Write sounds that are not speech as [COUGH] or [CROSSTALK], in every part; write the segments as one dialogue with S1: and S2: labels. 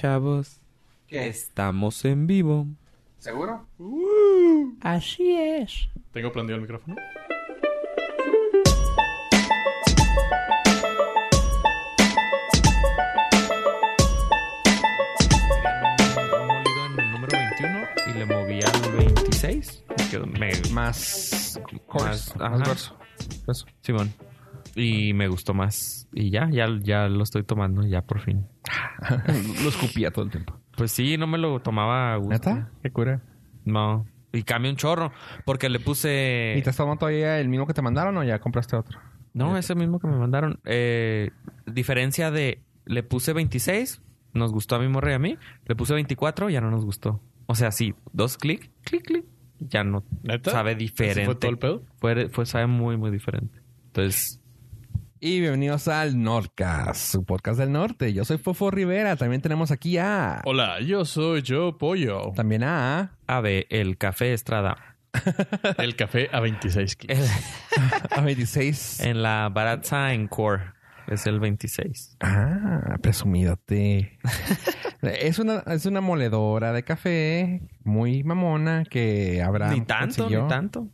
S1: Pichavos.
S2: ¿Qué?
S1: Estamos en vivo.
S2: ¿Seguro?
S1: Así es.
S3: Tengo prendido el micrófono.
S4: un molido en el número 21 y le moví al 26. Me quedó me, más,
S3: Chorus, más
S4: más, ajá,
S3: verso. Verso.
S4: Simón. Y me gustó más. Y ya, ya, ya lo estoy tomando, ya por fin.
S3: Lo escupía todo el tiempo.
S4: Pues sí, no me lo tomaba a gusto.
S3: ¿Neta? Qué cura.
S4: No. Y cambié un chorro. Porque le puse.
S3: ¿Y te has tomado todavía el mismo que te mandaron o ya compraste otro?
S4: No, ese mismo que me mandaron. Eh, diferencia de. Le puse 26, nos gustó a mi morre y a mí. Le puse 24, ya no nos gustó. O sea, sí, dos clic, clic, clic. Ya no
S5: ¿Neta?
S4: sabe
S5: ¿Así
S4: diferente.
S5: ¿Fue todo el pedo?
S4: Fue, fue- sabe muy, muy diferente. Entonces,
S3: Y bienvenidos al Nordcast, su podcast del norte. Yo soy Fofo Rivera. También tenemos aquí a...
S5: Hola, yo soy Yo Pollo.
S3: También a...
S4: Ave, Ah, el café Estrada.
S5: El café a 26 kilos.
S4: El-
S3: A 26.
S4: en la Baratza Encore. Es el 26.
S3: Ah, presumidote. [LAUGHS] es, una, es una moledora de café muy mamona que habrá...
S4: ni tanto, ni tanto.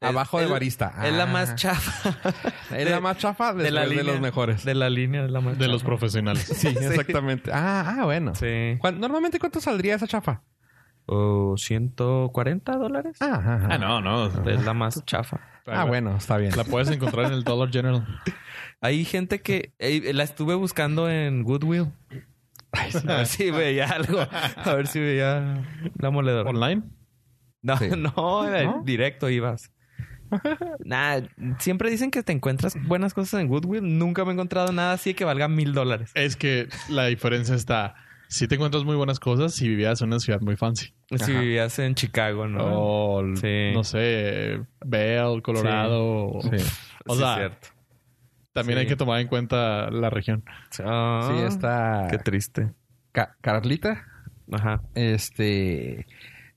S3: Abajo
S4: Es-
S3: de barista.
S4: Es la
S3: Ah,
S4: más chafa. [LAUGHS]
S3: Es la más chafa
S4: de la
S3: después de
S4: línea.
S3: los mejores.
S4: De la línea de la más
S5: De los
S4: chafa.
S5: profesionales.
S3: [LAUGHS] Sí, exactamente. Ah, ah, bueno.
S4: Sí.
S3: ¿Cuán- Normalmente, ¿cuánto saldría esa chafa?
S4: O 140 dólares.
S3: Ah, ajá, ajá.
S5: Ah, no, no.
S4: Es la más chafa.
S3: Ah, bueno, está bien.
S5: La puedes encontrar en el Dollar General.
S4: Hay gente que eh, la estuve buscando en Goodwill. [LAUGHS] a ver si veía algo. A ver si veía la moledora.
S5: ¿Online?
S4: No,
S3: Sí.
S4: [LAUGHS] no, eh,
S3: ¿No? [LAUGHS]
S4: directo ibas. Nah, siempre dicen que te encuentras buenas cosas en Goodwill. Nunca me he encontrado nada así que valga mil dólares.
S5: Es que la diferencia está... Si te encuentras muy buenas cosas, si vivías en una ciudad muy fancy.
S4: Si
S3: Ajá.
S4: vivías en Chicago, ¿no?
S3: Oh,
S5: O, l-
S4: Ah, Sí.
S5: no sé, Bell, Colorado. o-
S3: Sí.
S5: O
S4: Sí,
S5: sea,
S4: cierto.
S5: también
S4: Sí.
S5: hay que tomar en cuenta la región.
S4: Ah,
S3: Sí, está
S4: Qué triste.
S3: Ca- Carlita,
S4: Ajá.
S3: este,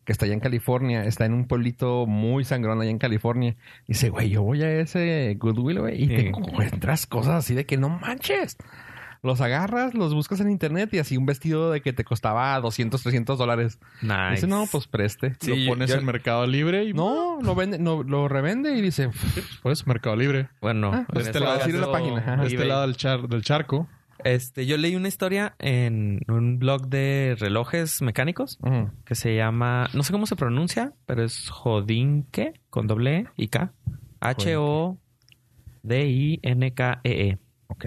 S3: que está allá en California, está en un pueblito muy sangrón allá en California. Dice, güey, yo voy a ese Goodwill, güey, y te
S4: Sí.
S3: encuentras cosas así de que no manches. Los agarras, los buscas en internet y así un vestido de que te costaba 200, 300 dólares.
S4: Nice.
S3: Dice, no, pues preste.
S4: Sí,
S5: lo pones
S4: yo-
S5: en Mercado Libre y... pues,
S3: No, lo vende, no, lo revende y dice,
S5: Por eso, Mercado Libre.
S4: Bueno,
S3: Ah, pues
S4: en
S3: te
S4: este
S3: lo voy a
S4: caso,
S3: decir en la página. Ajá.
S5: De este
S4: eBay.
S5: lado del, char- del charco.
S4: Este, yo leí una historia en un blog de relojes mecánicos
S3: "Ujú".
S4: que se llama, no sé cómo se pronuncia, pero es Jodinke con doble E y K. H O D I N K E E.
S3: ok.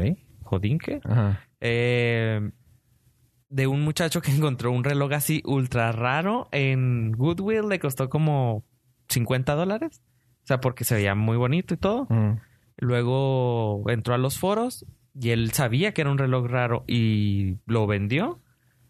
S4: Jodinke.
S3: Ajá.
S4: Eh, de un muchacho que [LAUGHS] encontró un reloj así ultra raro en Goodwill, le costó como 50 dólares. O sea, porque se veía muy bonito y todo.
S3: Ujú.
S4: Luego entró a los foros y él sabía que era un reloj raro y lo vendió.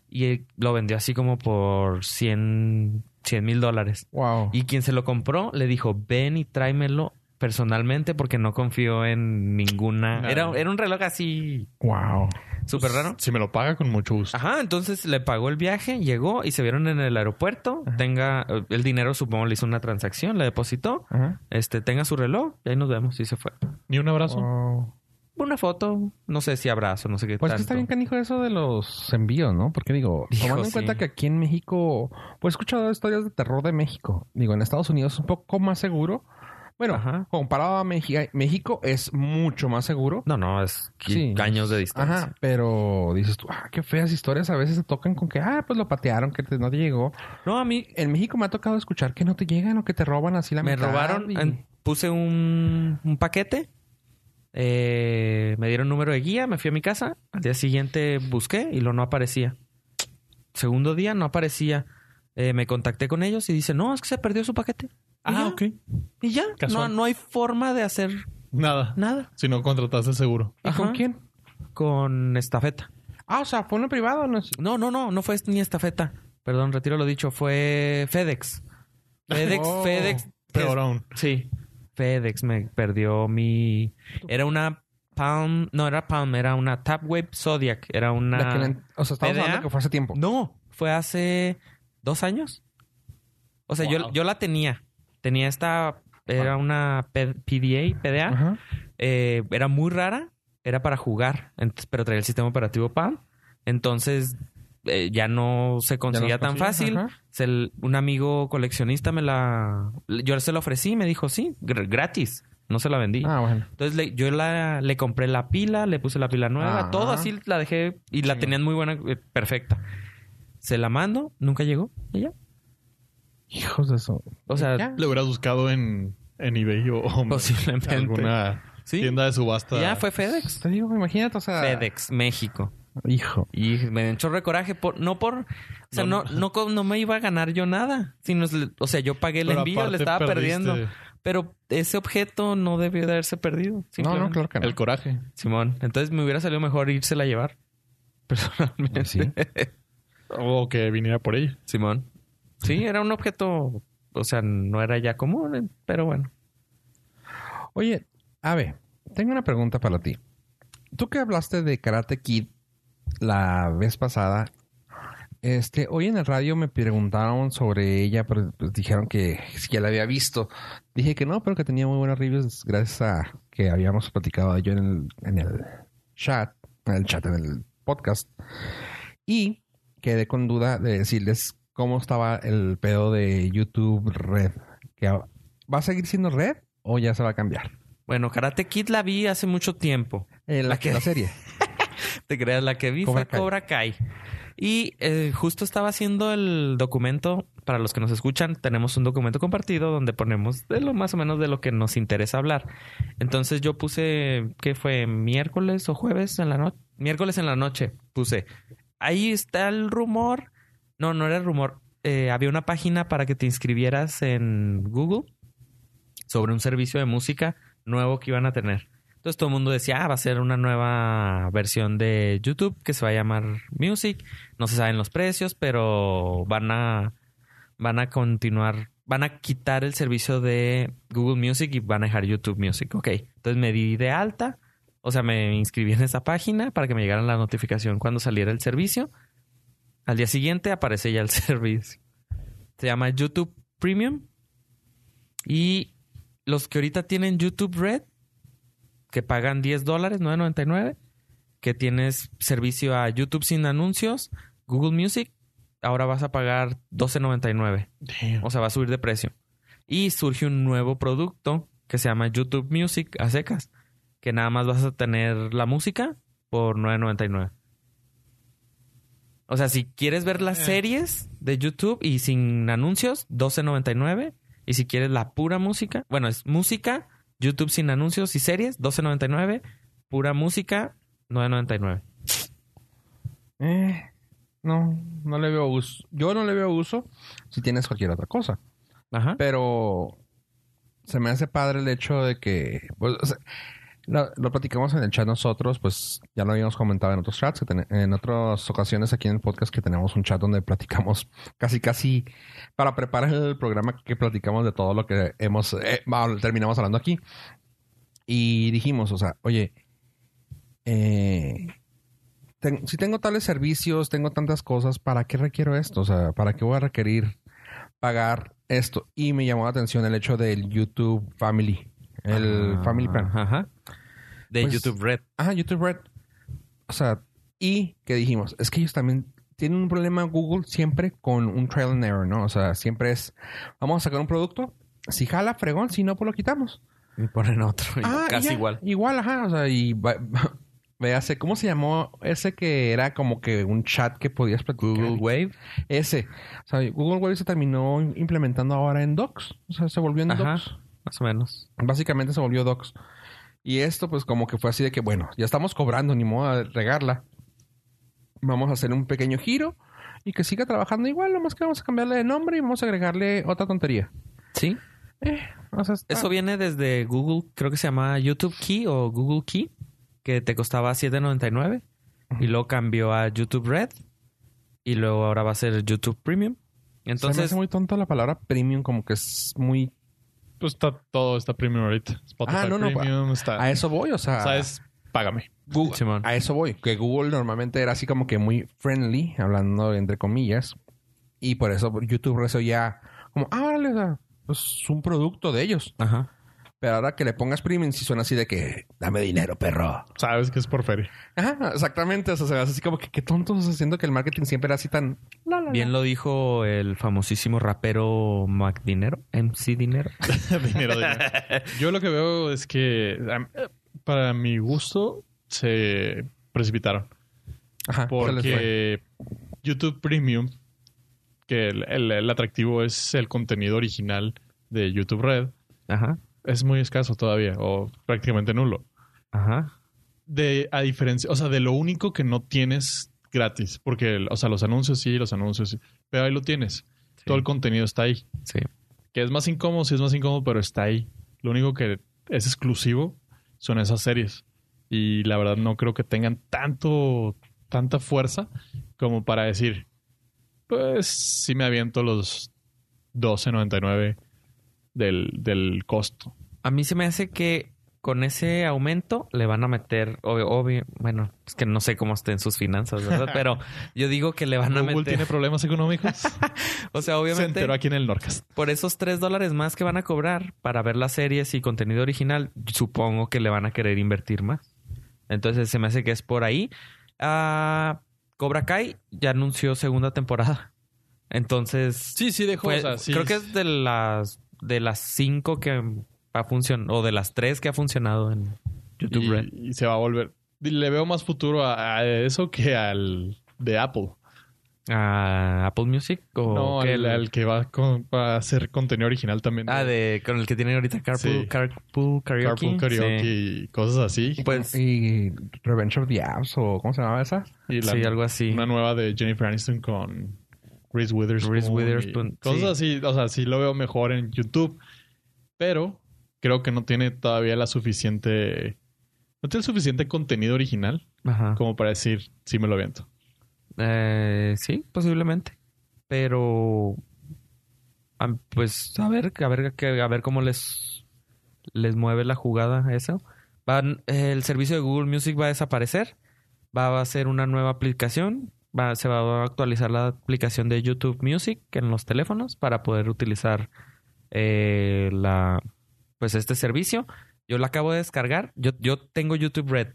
S4: Y él lo vendió así como por 100 mil dólares.
S3: Wow.
S4: Y quien se lo compró le dijo, ven y tráemelo personalmente porque no confío en ninguna...
S5: Nada.
S4: Era, era un reloj así
S3: Wow.
S4: súper
S5: Pues,
S4: raro. Ah.
S5: Si me lo paga con mucho gusto.
S4: Ajá, entonces le pagó el viaje, llegó y se vieron en el aeropuerto. Tenga eh, el dinero, supongo, le hizo una transacción, le depositó.
S3: Ajá.
S4: Este, tenga su reloj y ahí nos vemos y se fue.
S5: Ni un abrazo.
S3: Wow.
S4: una foto, no sé si abrazo, no sé qué
S3: Pues que
S4: tanto.
S3: está bien canijo eso de los envíos, ¿no? Porque digo,
S4: Hijo,
S3: tomando en
S4: sí.
S3: cuenta que aquí en México, pues he escuchado historias de terror de México. Digo, en Estados Unidos es un poco más seguro. Bueno,
S4: Ajá.
S3: comparado a México, México es mucho más seguro.
S4: No, no, es
S3: Sí.
S4: qui- años de distancia.
S3: Ajá, pero dices tú, ah, qué feas historias a veces se tocan con que, ah, pues lo patearon, que te- no te llegó.
S4: No, a mí
S3: En México me ha tocado escuchar que no te llegan o que te roban así la
S4: me
S3: mitad
S4: robaron,
S3: y-
S4: en- puse un, un paquete, eh, me dieron número de guía, me fui a mi casa, al día siguiente busqué y lo no aparecía. Segundo día no aparecía. Eh, me contacté con ellos y dice, no, es que se perdió su paquete. Y
S3: Ah,
S4: ya, Y ya, no,
S5: Casual.
S4: no hay forma de hacer
S5: Nada.
S4: nada
S5: Si no contrataste seguro.
S3: ¿Y con
S4: Ajá.
S3: quién?
S4: con estafeta.
S3: Ah, o sea, fue uno privado, no es...
S4: No, no, no, no fue ni estafeta. Perdón, retiro lo dicho, fue [LAUGHS] FedEx. FedEx,
S3: Oh,
S4: FedEx.
S5: Peor aún.
S4: es- sí. FedEx me perdió mi. Era una Palm. No, era Palm, era una Tapwave Zodiac. Era una.
S3: La que le- o sea, estamos
S4: PDA.
S3: hablando que fue hace tiempo.
S4: No, fue hace dos años. O sea, yo,
S5: Wow.
S4: yo la tenía. Tenía esta. Era una P- PDA, PDA.
S3: Ajá.
S4: Eh, era muy rara, era para jugar, ent- pero traía el sistema operativo PAM Entonces eh, ya no se conseguía tan fácil. Se l- un amigo coleccionista me la... Yo se la ofrecí y me dijo, sí, gr- gratis. No se la vendí.
S3: Ah, bueno.
S4: Entonces le- yo la, le compré la pila, le puse la pila nueva,
S3: Ah.
S4: todo así la dejé y la
S3: Chingón.
S4: tenían muy buena, eh, perfecta. Se la mando, nunca llegó, y ya.
S3: Hijos de eso.
S4: O sea,
S3: Ya.
S5: Lo hubieras buscado en, en eBay o, o
S4: Posiblemente.
S5: alguna
S4: Sí.
S5: tienda de subasta.
S4: y ya fue FedEx.
S3: Te digo, imagínate, o sea.
S4: FedEx, México.
S3: Hijo.
S4: Y me dio un chorro de coraje, por, no por... O sea, no,
S5: No,
S4: no, co- no me iba a ganar yo nada. Sino, es- o sea, yo pagué el
S5: Pero
S4: envío,
S5: aparte
S4: le estaba
S5: perdiste
S4: perdiendo. Pero ese objeto no debió de haberse perdido.
S3: No, no,
S4: simplemente.
S3: claro que no.
S5: El coraje.
S4: Simón, entonces me hubiera salido mejor írsela a llevar. [LAUGHS] Personalmente.
S3: Pues Sí.
S5: O que viniera por ella.
S4: Simón. Sí, era un objeto, o sea, no era ya común, eh, pero bueno.
S3: Oye, Ave, tengo una pregunta para ti. Tú que hablaste de Karate Kid la vez pasada, este, hoy en el radio me preguntaron sobre ella, pero pues, dijeron que si ya la había visto. Dije que no, pero que tenía muy buenas reviews gracias a que habíamos platicado yo en el, en el chat, en el chat, en el podcast. Y quedé con duda de decirles cómo estaba el pedo de YouTube Red. Que a- ¿Va a seguir siendo Red o ya se va a cambiar?
S4: Bueno, Karate Kid la vi hace mucho tiempo.
S3: Eh, la,
S4: ¿La qué?
S3: la serie.
S4: Te creas, la que vi
S3: Cobra
S4: fue
S3: Kai.
S4: Cobra Kai. Y eh, justo estaba haciendo el documento, para los que nos escuchan, tenemos un documento compartido donde ponemos de lo más o menos de lo que nos interesa hablar. Entonces yo puse, ¿qué fue? ¿Miércoles o jueves en la noche? Miércoles en la noche puse, ahí está el rumor. No, no era el rumor. Eh, había una página para que te inscribieras en Google sobre un servicio de música nuevo que iban a tener. Entonces todo el mundo decía, ah, va a ser una nueva versión de YouTube que se va a llamar Music. No se saben los precios, pero van a, van a continuar, van a quitar el servicio de Google Music y van a dejar YouTube Music. Ok, entonces me di de alta, o sea, me inscribí en esa página para que me llegara la notificación cuando saliera el servicio. Al día siguiente aparece ya el [LAUGHS] servicio. Se llama YouTube Premium. Y los que ahorita tienen YouTube Red, que pagan 10 dólares, 9.99, que tienes servicio a YouTube sin anuncios, Google Music, ahora vas a pagar 12.99. O sea, va a subir de precio. Y surge un nuevo producto que se llama YouTube Music a secas, que nada más vas a tener la música por 9.99. O sea, si quieres ver las
S5: Eh.
S4: series de YouTube y sin anuncios, 12.99. Y si quieres la pura música, bueno, es música, YouTube sin anuncios y series, 12.99. Pura música, 9.99.
S3: [LAUGHS] Eh, no, no le veo uso. Yo no le veo uso si tienes cualquier otra cosa.
S4: Ajá.
S3: Pero se me hace padre el hecho de que. pues, o sea, lo, lo platicamos en el chat nosotros, pues ya lo habíamos comentado en otros chats, que ten- en otras ocasiones aquí en el podcast que tenemos un chat donde platicamos [LAUGHS] casi, casi para preparar el programa que platicamos de todo lo que hemos eh, va- terminamos hablando aquí. Y dijimos, o sea, oye, eh, ten- si tengo tales servicios, tengo tantas cosas, ¿para qué requiero esto? O sea, ¿para qué voy a requerir pagar esto? Y me llamó la atención el hecho del YouTube Family, el
S4: Ah,
S3: Family Plan.
S4: Ajá. De
S3: Pues-
S4: YouTube Red.
S3: Ajá, YouTube Red. O sea, y que dijimos, es que ellos también tienen un problema Google siempre con un trial and error, ¿no? O sea, siempre es, vamos a sacar un producto, si jala, fregón, si no, pues lo quitamos.
S4: Y ponen otro. y
S3: Ah, y
S4: casi
S3: ya.
S4: igual.
S3: Igual, ajá, o sea, y va- [LAUGHS] véase, ¿cómo se llamó ese que era como que un chat que podías platicar?
S4: Google Wave.
S3: Ese. O sea, Google Wave se terminó implementando ahora en Docs. O sea, se volvió en
S4: Ajá.
S3: Docs.
S4: Más o menos.
S3: Básicamente se volvió Docs. Y esto, pues, como que fue así de que, bueno, ya estamos cobrando, ni modo de regarla. Vamos a hacer un pequeño giro y que siga trabajando igual, nomás que vamos a cambiarle de nombre y vamos a agregarle otra tontería.
S4: Sí.
S3: O sea, está-
S4: Eso viene desde Google, creo que se llama YouTube Key o Google Key, que te costaba $7.99 y luego cambió a YouTube Red y luego ahora va a ser YouTube Premium.
S3: se me
S4: Entonces,
S3: hace muy tonta la palabra premium, como que es muy.
S5: Pues está todo, está premium ahorita. Spotify
S3: Ah, no, no,
S5: premium está.
S3: A eso voy, o sea.
S5: o sea, es págame.
S3: Google-
S4: Simón.
S3: a eso voy. Que Google normalmente era así como que muy friendly, hablando entre comillas. Y por eso YouTube, por eso ya. Como, ah, órale, o sea, pues, es un producto de ellos.
S4: ajá.
S3: Pero ahora que le pongas premium, si suena así de que dame dinero, perro.
S5: Sabes que es
S4: [LAUGHS]
S5: por feria.
S3: Ajá, exactamente. O sea, se me hace así como que qué tontos haciendo que el marketing siempre era así tan. la, la, la.
S4: Bien lo dijo el famosísimo rapero Mac Dinero, MC Dinero.
S5: Dinero, dinero. Yo lo que veo es que am- para mi gusto se precipitaron.
S3: Ajá, se les fue.
S5: Porque YouTube Premium, que el, el- el atractivo es el contenido original de YouTube Red,
S4: Ajá,
S5: es muy escaso todavía o prácticamente nulo.
S4: ajá.
S5: De, a diferencia, o sea, de lo único que no tienes gratis, porque, o sea, los anuncios sí, los anuncios sí, pero ahí lo tienes.
S4: Sí.
S5: Todo el contenido está ahí.
S4: Sí.
S5: Que es más incómodo, sí es más incómodo, pero está ahí. Lo único que es exclusivo son esas series. Y la verdad no creo que tengan tanto, tanta fuerza como para decir, pues sí me aviento los 12.99 del, del costo.
S4: A mí se me hace que con ese aumento le van a meter, obvio, obvio- bueno, es que no sé cómo estén sus finanzas, ¿verdad? Pero yo digo que le van a
S5: Google
S4: meter.
S5: tiene problemas [LAUGHS] económicos.
S4: O sea,
S5: Se
S4: obviamente.
S5: enteró aquí en el Norcas.
S4: por esos tres dólares más que van a cobrar para ver las series y contenido original, supongo que le van a querer invertir más. Entonces se me hace que es por ahí. Ah, Cobra Kai ya anunció segunda temporada. Entonces,
S5: Sí, sí, dejó.
S4: fue-
S5: o sea, sí.
S4: creo que es de las de las cinco que ha funcionado, o de las tres que ha funcionado en YouTube Red.
S5: y, y se va a volver. Le veo más futuro a, a eso que al de Apple.
S4: Ah, Apple Music o
S5: no,
S4: qué?
S5: al, al que va, con- va a hacer contenido original también.
S4: Ah, de con el que tienen ahorita Carpool,
S5: Sí.
S4: Carpool Karaoke.
S5: Carpool Karaoke
S4: Sí.
S5: y cosas así.
S4: Pues
S3: Y
S4: sí,
S3: Revenge of the Apps o ¿cómo se llamaba esa?
S5: Y la-
S4: algo así.
S5: Una nueva de Jennifer Aniston con Reese Witherspoon.
S4: Reese
S5: y
S4: Witherspoon,
S5: Cosas así. O sea, sí lo veo mejor en YouTube. Pero creo que no tiene todavía la suficiente... No tiene el suficiente contenido original
S4: Ajá.
S5: como para decir, sí me lo aviento.
S4: Eh, sí, posiblemente. Pero am- pues a ver, a ver que- a ver cómo les les mueve la jugada a eso. Van, el servicio de Google Music va a desaparecer, va a ser una nueva aplicación, va, se va a actualizar la aplicación de YouTube Music en los teléfonos para poder utilizar eh, la pues este servicio. Yo la acabo de descargar. Yo, yo tengo YouTube Red.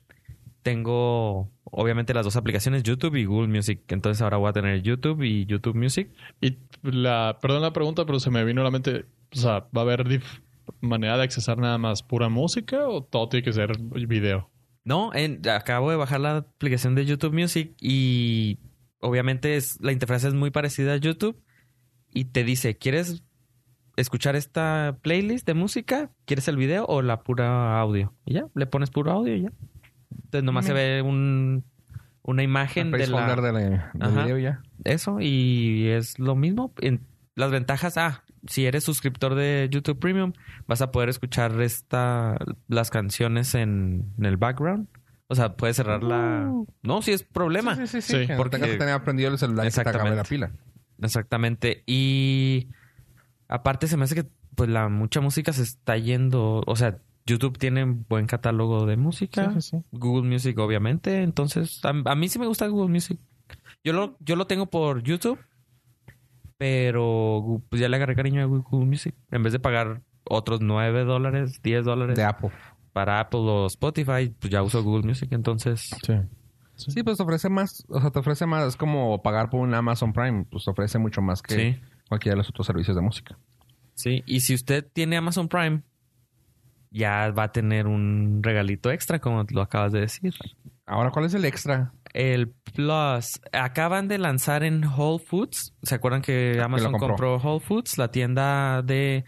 S4: Tengo, obviamente, las dos aplicaciones, YouTube y Google Music. Entonces ahora voy a tener YouTube y YouTube Music.
S5: Y la... Perdón la pregunta, pero se me vino a la mente... O sea, ¿va a haber dif- manera de accesar nada más pura música o todo tiene que ser video?
S4: No, en- acabo de bajar la aplicación de YouTube Music y obviamente es, la interfaz es muy parecida a YouTube y te dice, ¿quieres escuchar esta playlist de música? ¿Quieres el video o la pura audio? Y ya, le pones puro audio y ya. Entonces nomás se ve un, una imagen
S3: El
S4: de la,
S3: placeholder de la- del
S4: Ajá.
S3: video ya.
S4: eso y es lo mismo. En- las ventajas, ah, si eres suscriptor de YouTube Premium, vas a poder escuchar esta, las canciones en, en el background. O sea, puedes cerrar la... No, si es problema.
S3: Uh. Sí, sí, sí.
S5: Sí,
S3: que no
S4: porque-
S3: tengas que tener aprendido el celular que te acabe la
S4: Exactamente.
S3: pila.
S4: Exactamente. Y aparte se me hace que pues la mucha música se está yendo. O sea, YouTube tiene un buen catálogo de música. Google Music, obviamente. Entonces, a, a mí sí me gusta Google Music. Yo lo, yo lo tengo por YouTube, pero gu- pues ya le agarré cariño a Google Music. En vez de pagar otros 9 dólares, 10 dólares
S3: De Apple.
S4: para Apple o Spotify, pues ya uso Google Music. Entonces,
S5: Sí.
S3: Sí, pues te ofrece más, o sea, te ofrece más, es como pagar por un Amazon Prime, pues te ofrece mucho más que
S4: sí.
S3: cualquiera de los otros servicios de música.
S4: Sí, y si usted tiene Amazon Prime, ya va a tener un regalito extra, como lo acabas de decir.
S3: Ahora, ¿cuál es el extra?
S4: El Plus, acaban de lanzar en Whole Foods. ¿Se acuerdan que Amazon compró.
S3: compró.
S4: Whole Foods, la tienda de,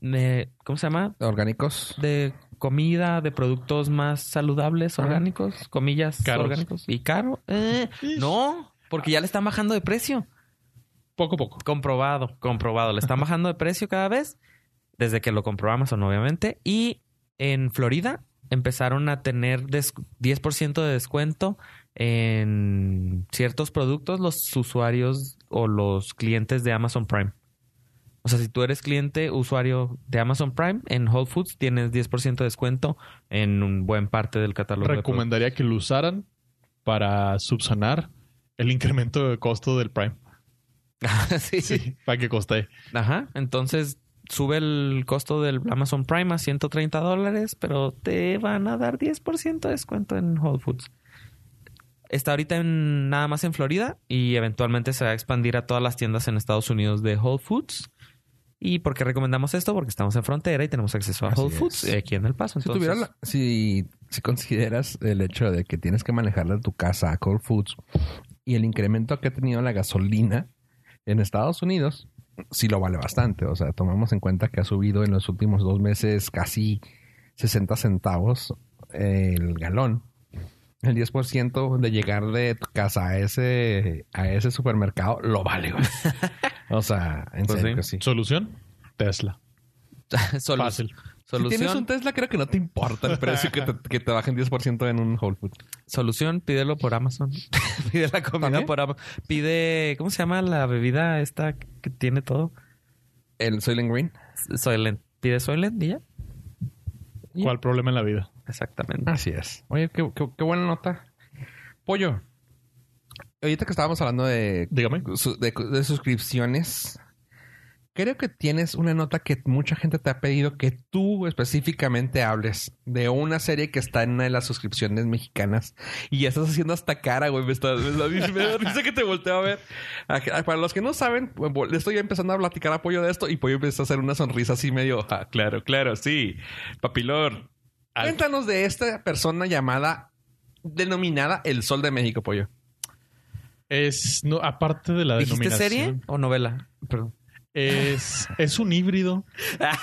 S4: de- ¿Cómo se llama?
S3: Orgánicos.
S4: De comida, de productos más saludables,
S3: Ajá.
S4: orgánicos, comillas,
S5: Caros.
S4: orgánicos. ¿Y caro? Eh, no, porque ya le están bajando de precio.
S5: Poco a poco.
S4: Comprobado, comprobado. Le están bajando de precio cada vez desde que lo compró Amazon, obviamente. Y en Florida empezaron a tener des- 10% de descuento en ciertos productos los usuarios o los clientes de Amazon Prime. O sea, si tú eres cliente, usuario de Amazon Prime, en Whole Foods tienes 10% de descuento en un buen parte del catálogo. de productos.
S5: recomendaría que lo usaran para subsanar el incremento de costo del Prime.
S4: [LAUGHS] sí.
S5: Para que coste.
S4: Ajá, entonces sube el costo del Amazon Prime a 130 dólares, pero te van a dar 10% de descuento en Whole Foods. Está ahorita en, nada más en Florida y eventualmente se va a expandir a todas las tiendas en Estados Unidos de Whole Foods. ¿Y por qué recomendamos esto? Porque estamos en frontera y tenemos acceso a
S3: Así
S4: Whole Foods
S3: es.
S4: eh, aquí en El Paso.
S3: Si,
S4: Entonces,
S3: tuviera la- si, si consideras el hecho de que tienes que manejarla de tu casa a Whole Foods y el incremento que ha tenido la gasolina en Estados Unidos, sí lo vale bastante. O sea, tomamos en cuenta que ha subido en los últimos dos meses casi 60 centavos el galón. El 10% de llegar de tu casa a ese, a ese supermercado lo vale.
S4: [LAUGHS]
S3: güey. o sea, en
S4: Pues
S3: serio
S4: sí.
S3: que sí.
S5: Solución, Tesla.
S4: [LAUGHS] solu-
S5: Fácil.
S4: solución,
S3: Si tienes un Tesla, creo que no te importa el precio que [LAUGHS] te, que te bajen 10% en un Whole Foods.
S4: solución, pídelo por Amazon. [LAUGHS] Pide la comida
S3: ¿También?
S4: por Amazon. Pide, ¿cómo se llama la bebida esta que tiene todo?
S3: El Soylent Green.
S4: Soylent. Pide Soylent y ya.
S5: ¿Cuál problema en la vida?
S4: Exactamente.
S3: Así es. Oye, qué, qué- qué buena nota. Pollo. Ahorita que estábamos hablando de,
S5: Dígame.
S3: su- de, de suscripciones, creo que tienes una nota que mucha gente te ha pedido que tú específicamente hables de una serie que está en una de las suscripciones mexicanas. Y ya estás haciendo hasta cara, güey. Me, está, me, da- me da risa que te volteo a ver. A- a- Para los que no saben, bueno, le estoy empezando a platicar a Pollo de esto y Pollo empieza a hacer una sonrisa así medio... "Ah, claro, claro, sí. Papilor.
S5: Al-
S3: Cuéntanos de esta persona llamada, denominada El Sol de México, Pollo.
S5: Es, no, aparte de la
S4: ¿Dijiste
S5: denominación.
S4: serie o novela? Perdón.
S5: Es, es un híbrido.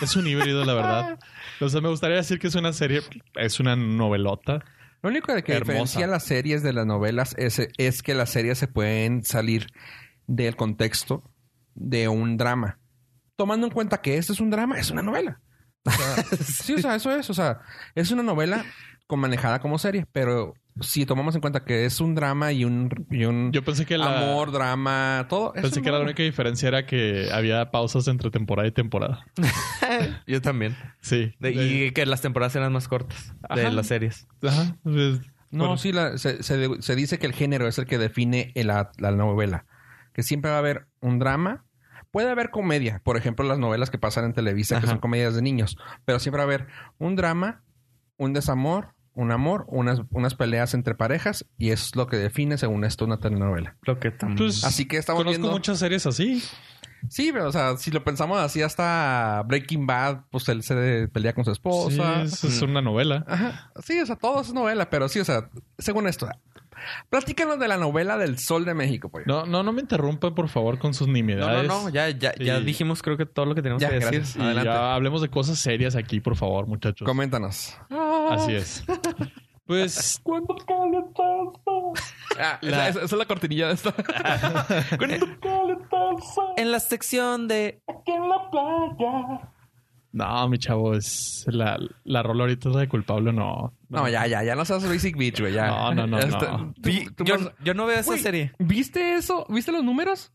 S5: Es un híbrido, la verdad. O sea, me gustaría decir que es una serie, es una novelota.
S3: Lo único de que
S5: Hermosa.
S3: diferencia las series de las novelas es, es que las series se pueden salir del contexto de un drama. Tomando en cuenta que esto es un drama, es una novela. O
S5: [LAUGHS]
S3: sea, sí, o sea, eso es. O sea, es una novela con manejada como serie, pero si tomamos en cuenta que es un drama y un, y un
S5: Yo pensé que la,
S3: amor, drama, todo. es
S5: pensé
S3: un
S5: que la
S3: drama.
S5: única diferencia era que había pausas entre temporada y temporada.
S4: Yo también.
S5: Sí.
S4: y que las temporadas eran más cortas de
S5: Ajá.
S4: las series.
S5: Ajá. Pues,
S3: No,
S5: bueno,
S3: sí, la- se, se- se dice que el género es el que define el- la, la novela. Que siempre va a haber un drama. Puede haber comedia, por ejemplo, las novelas que pasan en Televisa, que
S4: Ajá.
S3: son comedias de niños. Pero siempre va a haber un drama, un desamor, un amor, unas, unas peleas entre parejas. Y eso es lo que define, según esto, una telenovela.
S4: Lo que tam-
S5: pues,
S3: Así que estamos
S5: conozco
S3: viendo...
S5: muchas series así.
S3: Sí, pero o sea, si lo pensamos así hasta Breaking Bad, pues él se pelea con su
S5: Sí,
S3: esposa.
S5: es, es una novela.
S3: Ajá. Sí, o sea, todo es novela, pero sí, o sea, según esto. Platícanos de la novela del Sol de México, pollo.
S5: No, no, no me interrumpa, por favor, con sus
S4: No, no,
S5: nimiedades.
S4: no. Ya, ya, ya
S5: Sí.
S4: dijimos creo que todo lo que teníamos
S3: Ya,
S4: que decir.
S3: gracias.
S5: Y
S3: Adelante.
S5: ya hablemos de cosas serias aquí, por favor, muchachos.
S3: Coméntanos.
S5: Así es. Pues
S3: Ah, esa, esa- esa es la cortinilla de [LAUGHS] esta.
S4: En la sección de...
S5: No, mi chavo, es la, la rola ahorita es la de culpable, no.
S3: No, ya, ya, ya no seas Basic Beach, güey. Ya.
S5: No, no, no,
S3: Este- tú-
S5: no.
S4: Vi-
S3: tú
S4: yo,
S3: vas-
S4: yo no veo esa
S3: Güey,
S4: serie.
S3: ¿Viste eso? ¿Viste los números?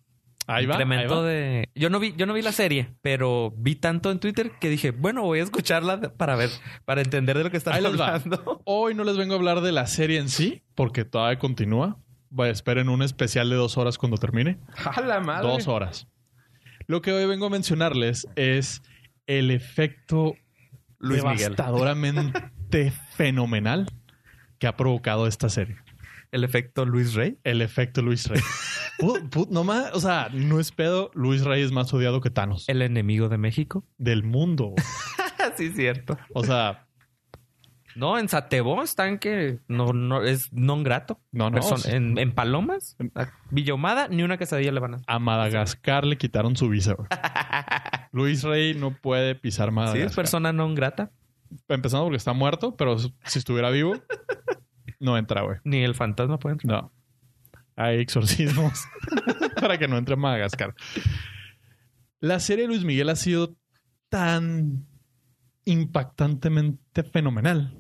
S5: Ahí va. ahí
S4: Incremento
S5: va.
S4: de... Yo no, vi, yo no vi la serie, pero vi tanto en Twitter que dije, bueno, voy a escucharla de- para ver, para entender de lo que están
S5: Ahí les va.
S4: hablando.
S5: Hoy no les vengo a hablar de la serie en sí, porque todavía continúa. Va, esperen un especial de dos horas cuando termine.
S3: A la madre.
S5: Dos horas. Lo que hoy vengo a mencionarles es el efecto
S4: Luis Miguel.
S5: devastadoramente
S4: [LAUGHS]
S5: fenomenal que ha provocado esta serie.
S4: El efecto Luis Rey.
S5: El efecto Luis
S4: [LAUGHS]
S5: Rey. Put- put- no más, o sea, no es pedo. Luis Rey es más odiado que Thanos
S4: El enemigo de México.
S5: del mundo.
S4: [LAUGHS] sí, cierto.
S5: O sea,
S4: No, en Satebó están que no, no es non grato.
S5: No, no,
S4: Person-
S5: sí.
S4: en, en Palomas, a Villahumada, ni una quesadilla le van a.
S5: a Madagascar le quitaron su
S4: [LAUGHS]
S5: visa. güey. Luis Rey no puede
S4: Sí,
S5: pisar
S4: es
S5: Madagascar.
S4: persona non grata,
S5: Empezando porque está muerto, pero si estuviera vivo, no entra, güey.
S4: ni el fantasma puede entrar.
S5: No. Hay exorcismos [LAUGHS] para que no entre a Madagascar. La serie de Luis Miguel ha sido tan impactantemente fenomenal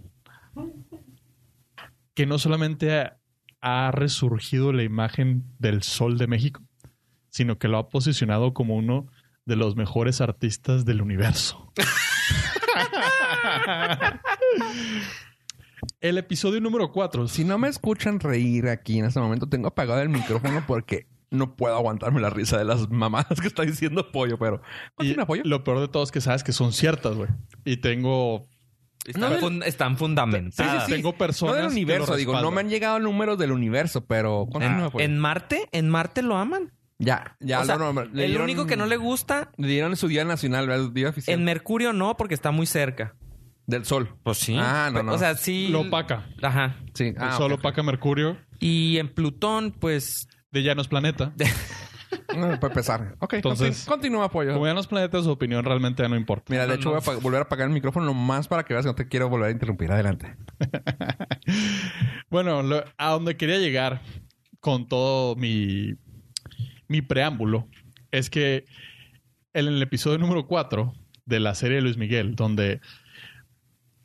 S5: que no solamente ha, ha resurgido la imagen del sol de México, sino que lo ha posicionado como uno de los mejores artistas del universo. El episodio número 4.
S3: Si no me escuchan reír aquí en este momento, tengo apagado el micrófono porque no puedo aguantarme la risa de las mamadas que está diciendo Pollo, pero...
S5: Y
S3: ¿Continúa, Pollo?
S5: lo peor de todo es que sabes que son ciertas, güey. Y tengo
S4: Están, fun- están fundamentadas.
S5: sí, sí. Ah, tengo personas
S3: No del
S5: que
S3: universo,
S5: lo
S3: digo, no
S5: respaldan.
S3: me han llegado números del universo, pero...
S4: En,
S3: Continúa, Pollo.
S4: en Marte, en Marte lo aman.
S3: Ya, ya.
S4: O sea,
S3: lo nombra- le
S4: el
S3: dieron-
S4: único que no le gusta,
S3: Le dieron su día nacional, ¿verdad? El día oficial.
S4: en Mercurio no, porque está muy cerca.
S3: Del sol.
S4: Pues sí.
S3: Ah, no, no.
S4: O sea, sí.
S5: Lo opaca.
S4: Ajá.
S3: Sí. Ah,
S5: solo
S3: ok, ok.
S5: opaca Mercurio
S4: Y en Plutón, pues.
S5: de Llanos Planeta.
S3: [LAUGHS] No, para empezar. Ok,
S5: Entonces-
S3: Entonces, continúa, Pollo.
S5: Como Llanos Planeta, su opinión realmente ya no importa.
S3: Mira, de
S4: No,
S3: hecho
S4: no.
S3: voy a pa- volver a apagar el micrófono más para que veas que no te quiero volver a interrumpir. Adelante.
S5: Bueno, lo- a donde quería llegar con todo mi, mi preámbulo es que en el episodio número 4 de la serie de Luis Miguel, donde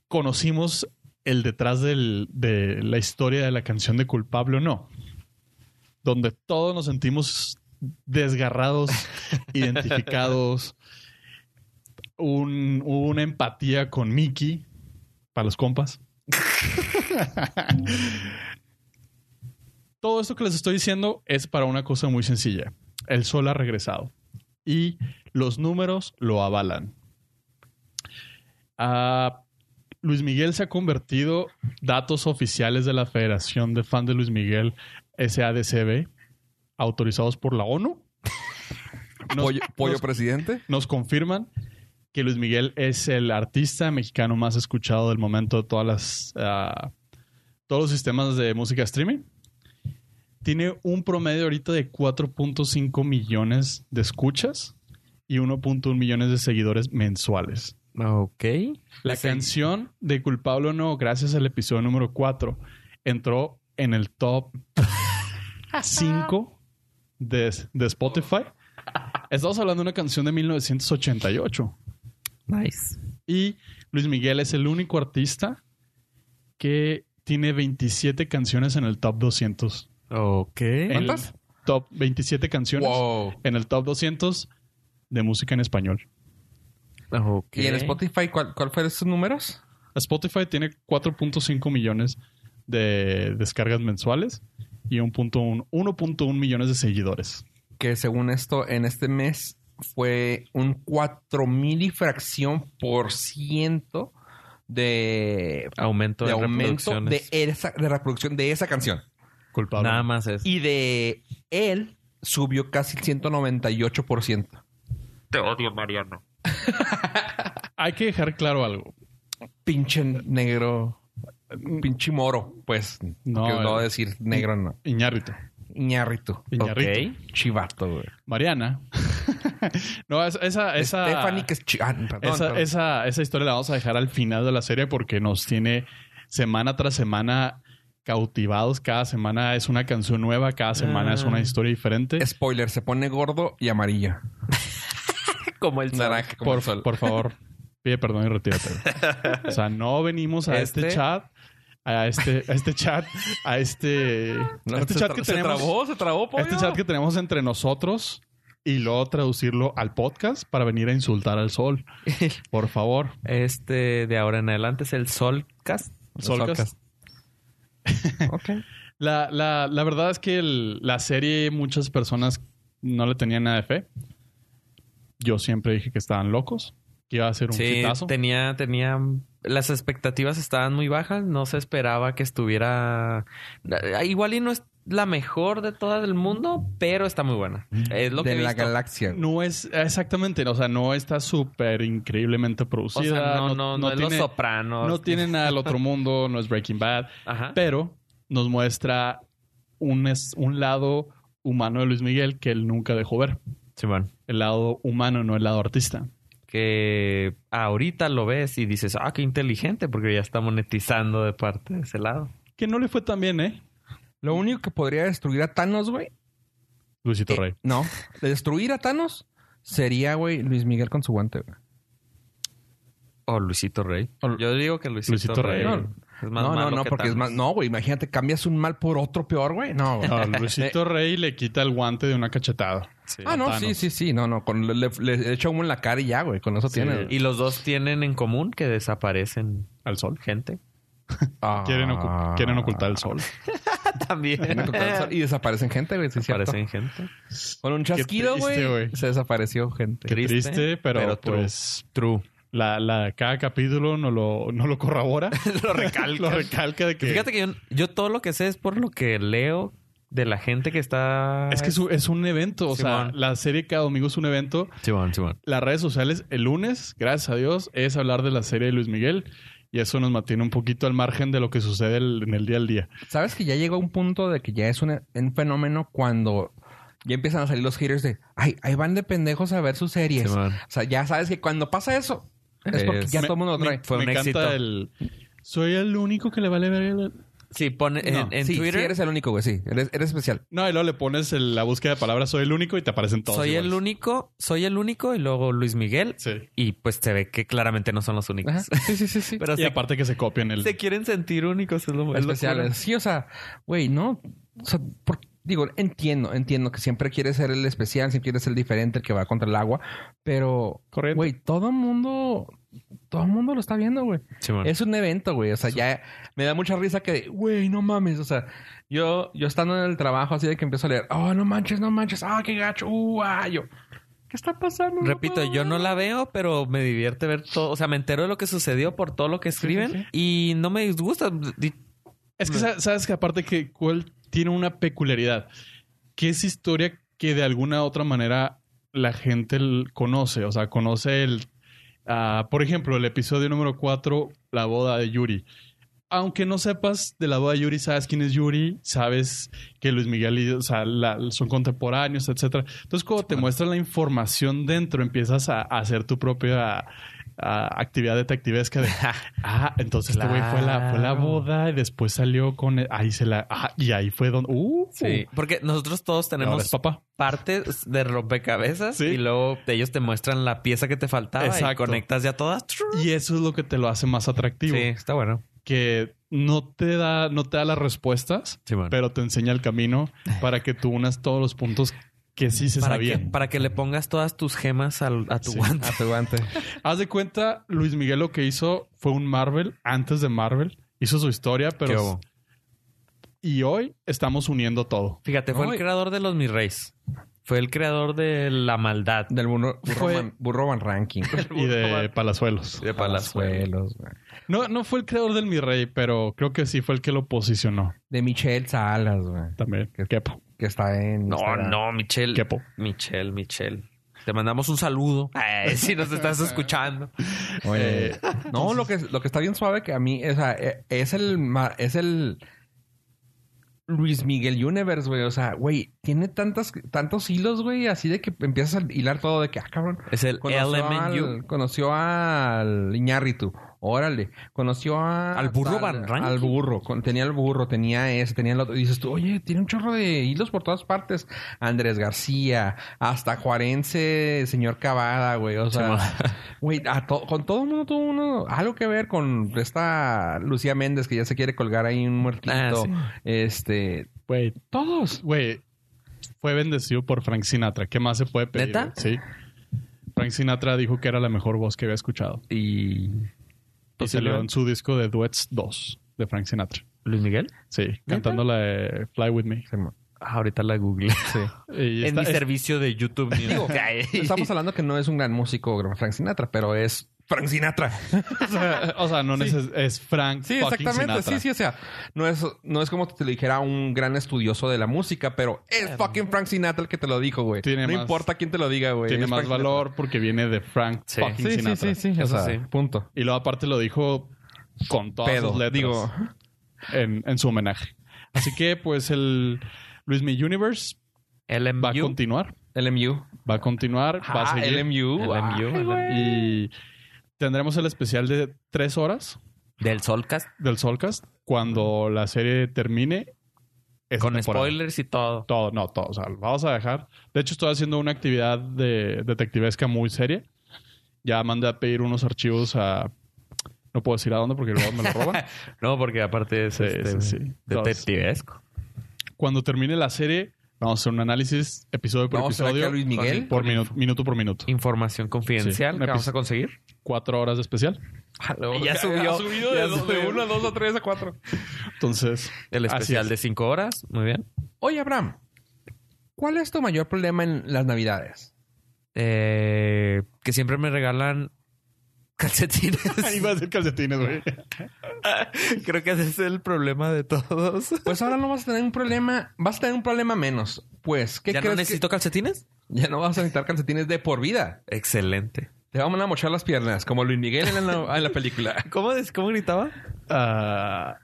S5: conocimos el detrás del- de la historia de la canción de culpable o no, donde todos nos sentimos desgarrados, identificados, un- hubo una empatía con Mickey, para los compas. Todo esto que les estoy diciendo es para una cosa muy sencilla. El sol ha regresado y los números lo avalan. Ah, Luis Miguel se ha convertido, datos oficiales de la Federación de Fan de Luis Miguel, SADCB, autorizados por la ONU, Nos-
S3: pollo pollo
S5: nos-
S3: presidente.
S5: nos confirman que Luis Miguel es el artista mexicano más escuchado del momento de todas las, ah, todos los sistemas de música streaming. Tiene un promedio ahorita de 4.5 millones de escuchas y 1.1 millones de seguidores mensuales.
S4: Ok.
S5: La canción de Culpable o No, gracias al episodio número 4, entró en el top 5 de, de Spotify. Estamos hablando de una canción de 1988.
S4: Nice.
S5: Y Luis Miguel es el único artista que tiene 27 canciones en el top 200.
S4: Ok.
S5: En el
S3: ¿Cuántas?
S5: Top 27 canciones
S3: Wow.
S5: en el top 200 de música en español.
S4: Ok.
S3: ¿Y en Spotify cuál, cuál fueron sus números?
S5: Spotify tiene 4.5 millones de descargas mensuales y 1.1 1.1 millones de seguidores.
S3: Que según esto, en este mes fue un 4000 y fracción por ciento de,
S4: Aumento
S3: de
S4: de,
S3: aumento de,
S4: reproducciones.
S3: esa, de reproducción de esa canción.
S5: Culpable.
S4: Nada más es.
S3: Y de él subió casi el 198%.
S5: Hay que dejar claro algo.
S3: Pinche negro. Pinche moro, pues.
S5: No,
S3: No, que no
S5: eh.
S3: decir negro, no.
S5: Iñárritu.
S3: Iñarrito.
S5: Iñárritu.
S4: Ok.
S3: Chivato, güey.
S5: Mariana. [LAUGHS] no, es- esa, esa,
S3: Stephanie, que es chi- ah, perdón,
S5: esa,
S3: perdón.
S5: esa, esa historia la vamos a dejar al final de la serie porque nos tiene semana tras semana cautivados. Cada semana es una canción nueva, cada semana es
S3: Ah.
S5: una historia diferente.
S3: Spoiler, se pone gordo y amarillo.
S4: como el
S3: Naranja. como
S5: por,
S3: el sol.
S5: por favor, pide perdón y retírate. güey. O sea, no venimos
S3: [LAUGHS]
S5: a este,
S4: Este-
S5: chat, a este, a este chat, a este,
S3: No,
S5: a este
S3: se
S5: chat
S3: tra-
S5: que
S3: se
S5: tenemos,
S3: trabó, se trabó,
S5: a este
S3: pollo.
S5: chat que tenemos entre nosotros y luego traducirlo al podcast para venir a insultar
S3: [LAUGHS]
S5: al sol. Por favor.
S4: Este de ahora en adelante es el Solcast.
S5: Solcast.
S3: Ok.
S5: La, la- la verdad es que el- la serie muchas personas no le tenían nada de fe. Yo siempre dije que estaban locos, que iba a ser un
S4: Sí,
S5: hitazo.
S4: tenía, tenía. Las expectativas estaban muy bajas. No se esperaba que estuviera. ah, Igual y no es la mejor de todas del mundo, pero está muy buena. Es lo
S3: de
S4: que he
S3: la
S4: visto.
S3: galaxia.
S5: No es exactamente, o sea, no está súper increíblemente
S4: O sea,
S5: producida.
S4: no, no, no, es
S5: tiene,
S4: los sopranos.
S5: no tiene nada
S4: [LAUGHS]
S5: del otro mundo, no es Breaking Bad,
S4: este, Ajá.
S5: pero nos muestra un, es- un lado humano de Luis Miguel que él nunca dejó ver.
S4: Simón.
S5: El lado humano, no el lado artista.
S4: que ahorita lo ves y dices, ah, qué inteligente, porque ya está monetizando de parte de ese lado.
S5: Que no le fue tan bien, ¿eh?
S3: Lo único que podría destruir a Thanos, güey.
S5: Luisito Rey.
S3: eh, no. De destruir a Thanos sería, güey, Luis Miguel con su guante, güey.
S4: O Luisito Rey.
S5: O-
S4: Yo digo que Luisito,
S5: Luisito
S4: Rey.
S5: Rey. No.
S4: Es más
S3: No, no,
S4: malo
S3: no,
S4: que
S3: porque es
S4: Thanos.
S3: más. No, güey, imagínate, cambias un mal por otro peor, güey. No, güey.
S5: Eh, Ah,
S3: Eh,
S4: [LAUGHS]
S5: No, Luisito Rey le quita el guante de una cachetada.
S4: Sí.
S3: Ah, no,
S5: Thanos.
S3: sí, sí, sí. No, no. Con, le, le- le echa humo en la cara y ya, güey. Con eso tiene. güey.
S4: Y los dos tienen en común que desaparecen
S5: Al sol.
S4: gente.
S3: Ah.
S5: Quieren, ocu- quieren ocultar el sol.
S4: También.
S3: Me tocó lanzar- y desaparecen gente, güey. Sí, es cierto.
S4: Aparecen gente.
S3: Con un chasquido,
S5: triste,
S3: güey.
S5: güey.
S3: Se desapareció gente.
S5: Qué triste,
S4: Triste,
S5: pero,
S4: pero true.
S5: pues
S4: True.
S5: la, la, cada capítulo no lo, no lo corrobora.
S4: Lo recalca.
S5: [LAUGHS] lo recalca de que...
S4: Fíjate que yo, yo todo lo que sé es por lo que leo de la gente que está...
S5: es que es un, es un evento, o sea,
S4: Simón.
S5: la serie cada domingo es un evento.
S4: Simón, Simón.
S5: Las redes sociales, el lunes, gracias a Dios, es hablar de la serie de Luis Miguel y eso nos mantiene un poquito al margen de lo que sucede el- en el día al día.
S3: ¿Sabes que ya llegó un punto de que ya es un, un fenómeno cuando ya empiezan a salir los haters de ay, ahí van de pendejos a ver sus series?
S4: Sí,
S3: o
S4: man.
S3: sea, ya sabes que cuando pasa eso es porque
S4: Es-
S3: ya
S5: Me-
S3: todo el mundo lo trae.
S5: me-
S4: Fue
S5: me
S4: un
S5: encanta
S4: éxito.
S5: el... Soy el único que le vale ver el...
S4: Sí, pone en, en
S3: sí,
S4: Twitter...
S3: sí eres el único, güey. Sí, eres, eres especial.
S5: No, y luego le pones el- la búsqueda de palabras soy el único y te aparecen todos.
S4: soy el
S5: iguales.
S4: único, soy el único y luego Luis Miguel.
S5: Sí.
S4: Y pues se ve que claramente no son los
S3: Ajá.
S4: únicos.
S3: Sí, sí, sí, sí.
S4: [LAUGHS] Pero
S5: Y
S4: se,
S5: aparte que se copian el...
S4: se quieren sentir únicos. Es lo, es pues, lo
S3: Especiales. Sí, o sea, güey, no. O sea, por- digo, entiendo, entiendo que siempre quieres ser el especial, siempre quieres ser el diferente, el que va contra el agua. Pero,
S5: Corriente.
S3: güey, todo el mundo, todo el mundo lo está viendo, güey.
S4: cool. Simón.
S3: Es un evento, güey. O sea, ya me da mucha risa que, güey, no mames. O sea, yo, yo estando en el trabajo así de que empiezo a leer, oh, no manches, no manches, ah, qué gacho, uh, ah, yo. ¿Qué está pasando?
S4: Repito, yo no la veo, pero me divierte ver todo. O sea, me entero de lo que sucedió por todo lo que escriben
S5: sí, sí.
S4: y no me disgusta. Di-
S5: Es que sa- sabes que aparte que cuál tiene una peculiaridad, que es historia que de alguna u otra manera la gente l- conoce, o sea, conoce el, ah, por ejemplo, el episodio número 4, la boda de Yuri. Aunque no sepas de la boda de Yuri, sabes quién es Yuri, sabes que Luis Miguel y, o sea, la- son contemporáneos, etcétera. Entonces, cuando te muestran la información dentro, empiezas a, a hacer tu propia ah, actividad detectivesca de, ah, entonces este güey fue la, fue la
S4: Claro.
S5: boda y después salió con el- ahí se la ah, y ahí fue donde uh,
S4: Sí, porque nosotros todos
S5: tenemos
S4: tenemos
S5: papá.
S4: partes de rompecabezas
S5: Sí.
S4: y luego ellos te muestran la pieza que te faltaba y
S5: Exacto.
S4: conectas ya todas. Sí,
S5: Y eso es lo que te lo hace más atractivo,
S4: está bueno.
S5: que no te da no te da las respuestas,
S4: Simón.
S5: pero te enseña el camino para que tú unas todos los puntos que sí se
S4: para, que,
S5: sabían.
S4: para que le pongas todas tus gemas al- a tu
S5: Sí.
S4: guante. [LAUGHS]
S5: Haz de cuenta, Luis Miguel lo que hizo fue un Marvel antes de Marvel, hizo su historia,
S4: ¿Qué
S5: pero
S4: hubo?
S5: y hoy estamos uniendo todo.
S4: Fíjate, fue
S3: Ay.
S4: el creador de los mis reyes. Fue el creador de la maldad.
S3: Del burro, burro,
S5: Fue-
S3: van, burro van
S4: [LAUGHS]
S3: ranking.
S5: Y de Palazuelos.
S4: De
S3: Palazuelos, güey.
S5: No, no fue el creador del Mi Rey, pero creo que sí fue el que lo posicionó
S3: De Michelle Salas, güey.
S5: también. Kepo.
S3: Que está en.
S4: No,
S3: Instagram.
S4: no, Michelle.
S5: Kepo.
S4: Michelle, Michelle. Te mandamos un
S5: [LAUGHS]
S4: saludo. Ay, si nos estás escuchando.
S3: Oye,
S5: Eh,
S3: no, lo que, lo que está bien suave que a mí, o sea, e- es el, ma- es el Luis Miguel Universe, güey. O sea, güey, tiene tantas, tantos hilos, güey, así de que empiezas a hilar todo de que, ah, cabrón.
S4: Es el
S3: Conoció
S4: LMNU.
S3: al, conoció al Iñárritu. Órale. Conoció a-
S4: Al burro Van Ranking.
S3: Al burro. Con- tenía el burro, tenía ese, tenía el otro. Y dices tú, oye, tiene un chorro de hilos por todas partes. Andrés García, hasta Juarense, señor Cavada, güey. O sea, güey, a to- con todo el mundo tuvo uno algo que ver con esta Lucía Méndez que ya se quiere colgar ahí un muertito.
S4: Ah, sí.
S3: Este,
S5: Güey,
S3: todos.
S5: güey, fue bendecido por Frank Sinatra. ¿Qué más se puede pedir?
S4: ¿Neta?
S5: Sí. Frank Sinatra dijo que era la mejor voz que había escuchado.
S3: Y Pues
S5: Y salió en su disco de Duets 2 de Frank Sinatra.
S4: Luis Miguel.
S5: Sí, cantando la de Fly With Me.
S3: se mo-
S4: Ah, ahorita la google.
S5: Y
S4: en
S5: está-
S4: mi
S5: es-
S4: servicio de YouTube Music. Ay.
S3: estamos hablando que no es un gran músico Frank Sinatra, pero es Frank
S5: [LAUGHS]
S3: Sinatra.
S5: o sea, [LAUGHS] o sea, no neces- es Frank
S3: Sí,
S5: fucking
S3: exactamente. Sí,
S5: Sinatra.
S3: sí, o sea, no es, no es como te lo dijera un gran estudioso de la música, pero es fucking Frank Sinatra el que te lo dijo, güey.
S5: Tiene
S3: No
S5: más-
S3: importa quién te lo diga, güey.
S5: Tiene
S3: es
S5: más
S3: Frank Sinatra.
S5: valor porque viene de Frank
S4: Sí.
S5: fucking
S3: Sí, sí, sí,
S5: Sinatra.
S3: sí, O
S4: Eso
S3: sea,
S4: sí.
S3: punto.
S5: Y luego aparte lo dijo con todas
S3: Pedo,
S5: sus letras.
S3: digo.
S5: En, en su homenaje. Así que, pues, el Luis Mi Universe va a
S4: LMU.
S5: continuar.
S3: LMU.
S5: Va a continuar. va a
S3: Ah,
S5: seguir.
S3: LMU.
S4: LMU,
S3: Ay,
S4: LMU.
S3: güey.
S5: Y tendremos el especial de tres horas
S4: Del Solcast.
S5: del Solcast cuando la serie termine. esta
S4: Con
S5: temporada.
S4: spoilers y todo.
S5: Todo, no, todo. O sea, lo vamos a dejar. De hecho, estoy haciendo una actividad de detectivesca muy seria. Ya mandé a pedir unos archivos a. No puedo decir a dónde porque luego me lo
S3: [LAUGHS]
S5: roban.
S4: No, porque aparte es
S5: Sí,
S4: este,
S5: sí, sí.
S4: detectivesco.
S5: cuando termine la serie, vamos a hacer un análisis episodio por
S3: Vamos a ver
S5: episodio.
S3: que a Luis Miguel.
S5: Por minu- minuto por minuto.
S4: Información confidencial
S5: Sí.
S4: que vamos a conseguir.
S5: Cuatro horas de especial.
S3: Hello.
S4: [LAUGHS]
S5: [LAUGHS]
S4: Ya subió.
S3: Ha subido
S4: Ya
S3: de, dos- de
S4: subió.
S3: uno a dos a tres a cuatro.
S5: Entonces,
S4: El
S5: Así
S4: especial
S5: es.
S4: de cinco horas. Muy bien.
S3: Oye, Abraham, ¿cuál es tu mayor problema en las navidades?
S4: Eh, que siempre me regalan calcetines.
S5: [LAUGHS] iba a decir calcetines, güey.
S4: Creo que ese es el problema de todos.
S3: Pues ahora no vas a tener un problema, vas a tener un problema menos. Pues, ¿qué
S4: ¿Ya no
S3: crees? que-
S4: necesito calcetines?
S3: [LAUGHS] Ya no vas a necesitar calcetines de por vida.
S4: Excelente.
S3: Te van a mochar las piernas, como Luis Miguel en la, en la
S4: [LAUGHS]
S3: película.
S4: ¿Cómo, des- cómo gritaba?
S5: Ah,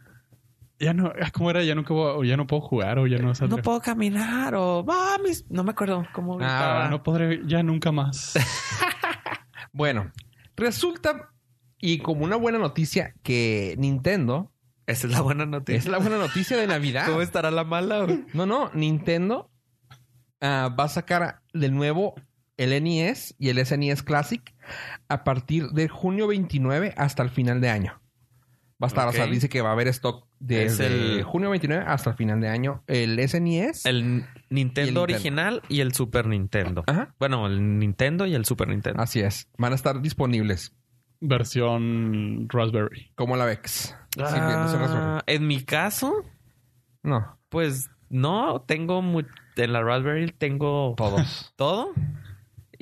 S5: ya no, ah, ¿cómo era? Ya no, puedo- ya no puedo jugar o ya no
S4: No
S5: saldré.
S4: puedo caminar o... "Ah, mis-". No me acuerdo cómo gritaba.
S5: Ah, no podré, ya
S4: [LAUGHS]
S5: nunca más.
S3: Bueno, resulta, y como una buena noticia, que Nintendo
S4: Esa es la buena noticia.
S3: es la buena noticia de Navidad.
S4: ¿Cómo estará la mala? güey?
S3: No, no, Nintendo ah, va a sacar de nuevo el NES y el SNES Classic a partir de junio 29 hasta el final de año. Va a estar, o sea,
S4: Ok.
S3: dice que va a haber stock desde
S4: Es el-
S3: junio 29 hasta el final de año. El E SNES.
S4: El Nintendo
S3: Nintendo. Ah.
S4: original y el Super Nintendo.
S3: Ajá.
S4: Bueno, el Nintendo y el Super Nintendo.
S3: Así es. Van a estar disponibles.
S5: Versión Raspberry.
S3: Como la VEX. Sí,
S4: Ah,
S3: no se resuelve.
S4: en mi caso,
S3: no,
S4: pues no, tengo mu- en la Raspberry tengo
S3: todos.
S4: todo.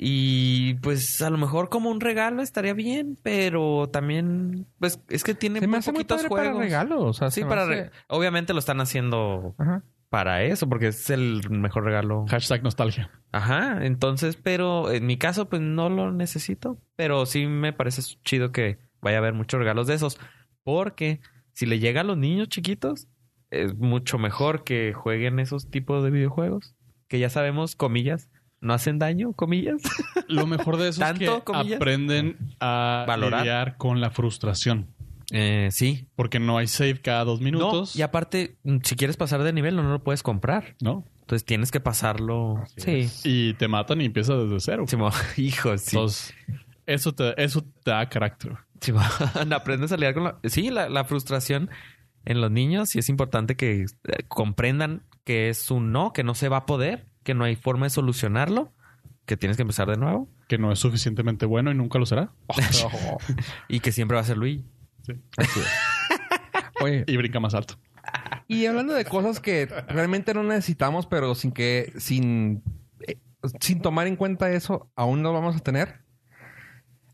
S4: Y pues a lo mejor como un regalo estaría bien, pero también pues es que tiene
S3: Se me
S4: muy
S3: hace muy
S4: poquitos
S3: padre
S4: juegos.
S3: para regalos. O sea,
S4: Sí,
S3: se me
S4: para
S3: hace-
S4: re- obviamente lo están haciendo [LAUGHS]
S3: Ajá.
S4: para eso porque es el mejor regalo.
S5: Hashtag nostalgia.
S4: Ajá, entonces, pero en mi caso, pues no lo necesito. Pero sí me parece chido que vaya a haber muchos regalos de esos. Porque si le llega a los niños chiquitos, es mucho mejor que jueguen esos tipos de videojuegos. Que ya sabemos, comillas, no hacen daño, comillas.
S5: Lo mejor de eso es
S4: Tanto,
S5: que
S4: comillas.
S5: aprenden a
S4: Valorar.
S5: lidiar con la frustración.
S4: sí.
S5: Porque no hay save cada dos minutos.
S4: y aparte, mm, si quieres pasar de nivel, no, no lo puedes comprar.
S5: ¿no?
S4: Entonces tienes que pasarlo.
S3: Así
S4: sí.
S5: Y te matan y empiezas desde cero.
S4: Simón, [LAUGHS] hijo, sí.
S5: Entonces, eso te, eso te da carácter.
S4: Simón, [LAUGHS] aprendes a lidiar con la... Sí, la, la frustración en los niños y es importante que eh, comprendan que es un no, que no se va a poder, que no hay forma de solucionarlo, que tienes que empezar de nuevo
S5: Que no es suficientemente bueno y nunca lo será.
S4: y que siempre va a ser Luigi.
S3: Oye,
S5: Y brinca más alto.
S3: Y hablando de cosas que realmente no necesitamos, pero sin que, sin, eh, sin tomar en cuenta eso, aún no vamos a tener.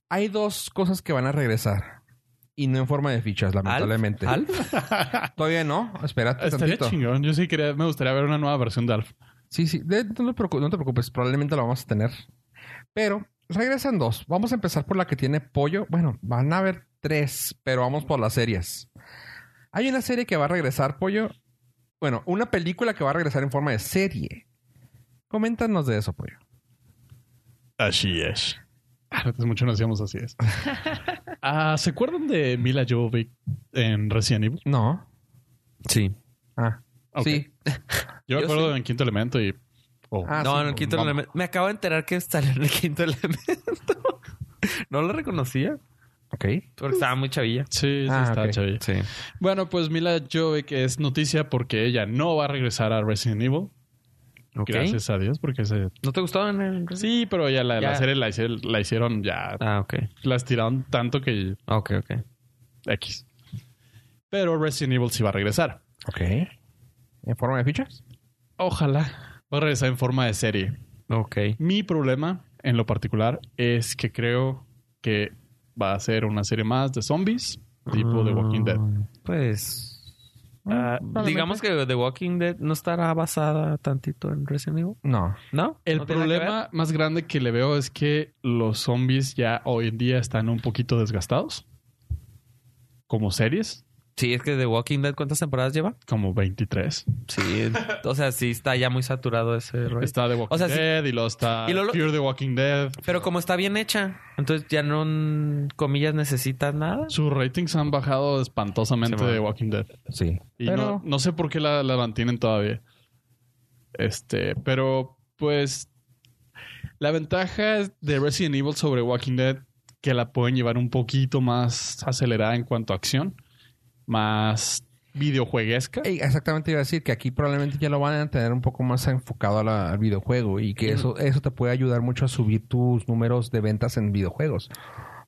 S3: Hay dos cosas que van a regresar. Y no en forma de fichas, lamentablemente.
S4: Alf,
S3: [LAUGHS]
S4: Alf.
S3: Todavía no. Espérate
S5: Estaría
S3: tantito.
S5: chingón. Yo sí quería, me gustaría ver una nueva versión de Alf.
S3: Sí, sí. de- no, te preocu- no te preocupes. Probablemente lo vamos a tener. Pero regresan dos. Vamos a empezar por la que tiene pollo. Bueno, van a haber tres, pero vamos por las series. Hay una serie que va a regresar, pollo. Bueno, una película que va a regresar en forma de serie. Coméntanos de eso, pollo.
S5: Así es. Antes mucho Ah, no hacíamos así es. [LAUGHS] Ah, ¿Se acuerdan de Mila Jovovich en Resident Evil?
S3: No.
S4: Sí.
S3: Ah.
S5: Ok.
S3: Sí.
S5: Yo
S4: Yo
S5: me acuerdo
S4: sí.
S5: en Quinto Elemento y... oh,
S3: Ah,
S4: no,
S3: sí,
S4: en el
S3: pues,
S4: quinto
S3: vamos.
S4: elemento. Me acabo de enterar que salió en el quinto elemento. [LAUGHS] no lo reconocía
S3: Ok.
S4: porque estaba muy chavilla.
S5: Sí, sí
S3: Ah,
S5: está
S3: ok.
S5: chavilla.
S4: Sí.
S5: Bueno, pues Mila Jovovich es noticia porque ella no va a regresar a Resident Evil.
S4: Ok.
S5: Gracias a Dios porque se...
S4: ¿No te gustó en el...
S5: Sí, pero ya la,
S4: Ya.
S5: la serie la, hice- la hicieron ya...
S4: Ah, ok.
S5: La estiraron tanto que
S4: Ok, ok.
S5: X. Pero Resident Evil sí va a regresar.
S3: Ok. ¿En forma de fichas?
S5: Ojalá. Va a regresar en forma de serie.
S4: Ok.
S5: Mi problema en lo particular es que creo que va a ser una serie más de zombies, tipo de Walking Dead.
S4: Ah, Pues. ah,
S3: probablemente.
S4: digamos que The Walking Dead no estará basada tantito en Resident Evil.
S3: No.
S4: ¿No?
S5: El
S4: ¿No tiene nada que
S5: problema más grande que le veo es que los zombies ya hoy en día están un poquito desgastados. Como series,
S4: ver? Sí, es que The Walking Dead, ¿cuántas temporadas lleva?
S5: como 23.
S4: Sí. [LAUGHS] o sea, sí está ya muy saturado ese rollo.
S5: Está The Walking
S4: O sea, sí-
S5: Dead y luego está
S4: Y luego lo-
S5: Fear the Walking Dead.
S4: Pero como está bien hecha, entonces ya no, mm, comillas, necesitas nada.
S5: Sus ratings han bajado espantosamente
S4: Sí, man.
S5: de Walking Dead.
S3: Sí.
S5: Y
S3: Pero-
S5: no, no sé por qué la, la mantienen todavía. Este, pero pues la ventaja de Resident Evil sobre Walking Dead que la pueden llevar un poquito más acelerada en cuanto a acción, más videojueguesca.
S3: Ey, Exactamente iba a decir que aquí probablemente ya lo van a tener un poco más enfocado a la- al videojuego y que eso, eso te puede ayudar mucho a subir tus números de ventas en videojuegos.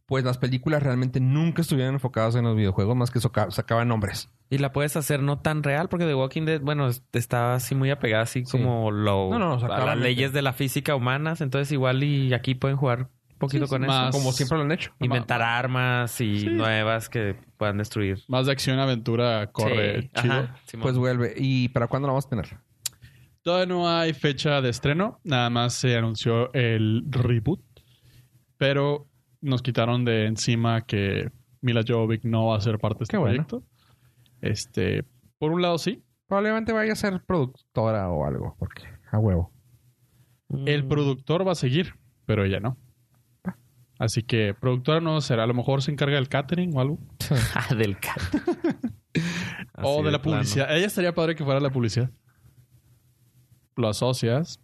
S3: pues las películas realmente nunca estuvieron enfocadas en los videojuegos más que soca- sacaban nombres.
S4: Y la puedes hacer no tan real, porque The Walking Dead, bueno, es- está así muy apegada, así
S3: Sí.
S4: como lo,
S3: No, no, o sea,
S4: a las
S3: claramente.
S4: leyes de la física humanas. Entonces, igual y aquí pueden jugar un poquito
S5: Sí,
S4: con
S5: sí,
S4: eso.
S5: más-
S3: Como siempre lo han hecho.
S4: Inventar armas y
S5: Sí.
S4: nuevas que puedan destruir.
S5: Más de acción, aventura, corre
S4: Sí,
S5: chido.
S4: ajá, Simón.
S3: Pues vuelve. ¿Y para cuándo lo vamos a tener?
S5: Todavía no hay fecha de estreno, nada más se anunció el reboot, pero nos quitaron de encima que Mila Jovic no va a ser parte de este
S3: Qué bueno.
S5: proyecto. Este, por un lado sí,
S3: Probablemente vaya a ser productora o algo, porque a huevo.
S5: el productor va a seguir, pero ella no. Así que productora no será, a lo mejor se encarga del catering o algo.
S4: Ah, del cat.
S5: o
S4: Así
S5: de la
S4: plano.
S5: publicidad. Ella estaría padre que fuera la publicidad. Lo asocias,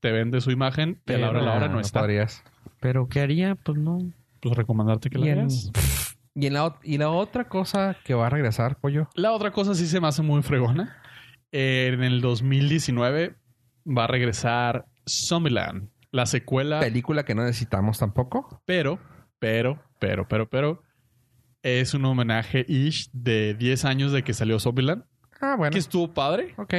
S5: te vende su imagen, y a la hora, a la hora no,
S3: Ah,
S5: está.
S3: podrías.
S4: Pero ¿qué haría? Pues no.
S5: Pues recomendarte que la
S3: Y en-
S5: veas.
S3: Y, en la, ot- y la otra cosa que va a regresar, pollo.
S5: La otra cosa sí se me hace muy fregona. Eh, en el 2019 va a regresar Zombieland, la secuela,
S3: Película que no necesitamos tampoco.
S5: pero, pero, pero, pero, pero, es un homenaje ish de 10 años de que salió Zombieland,
S3: Ah, bueno.
S5: que estuvo padre
S3: Ok.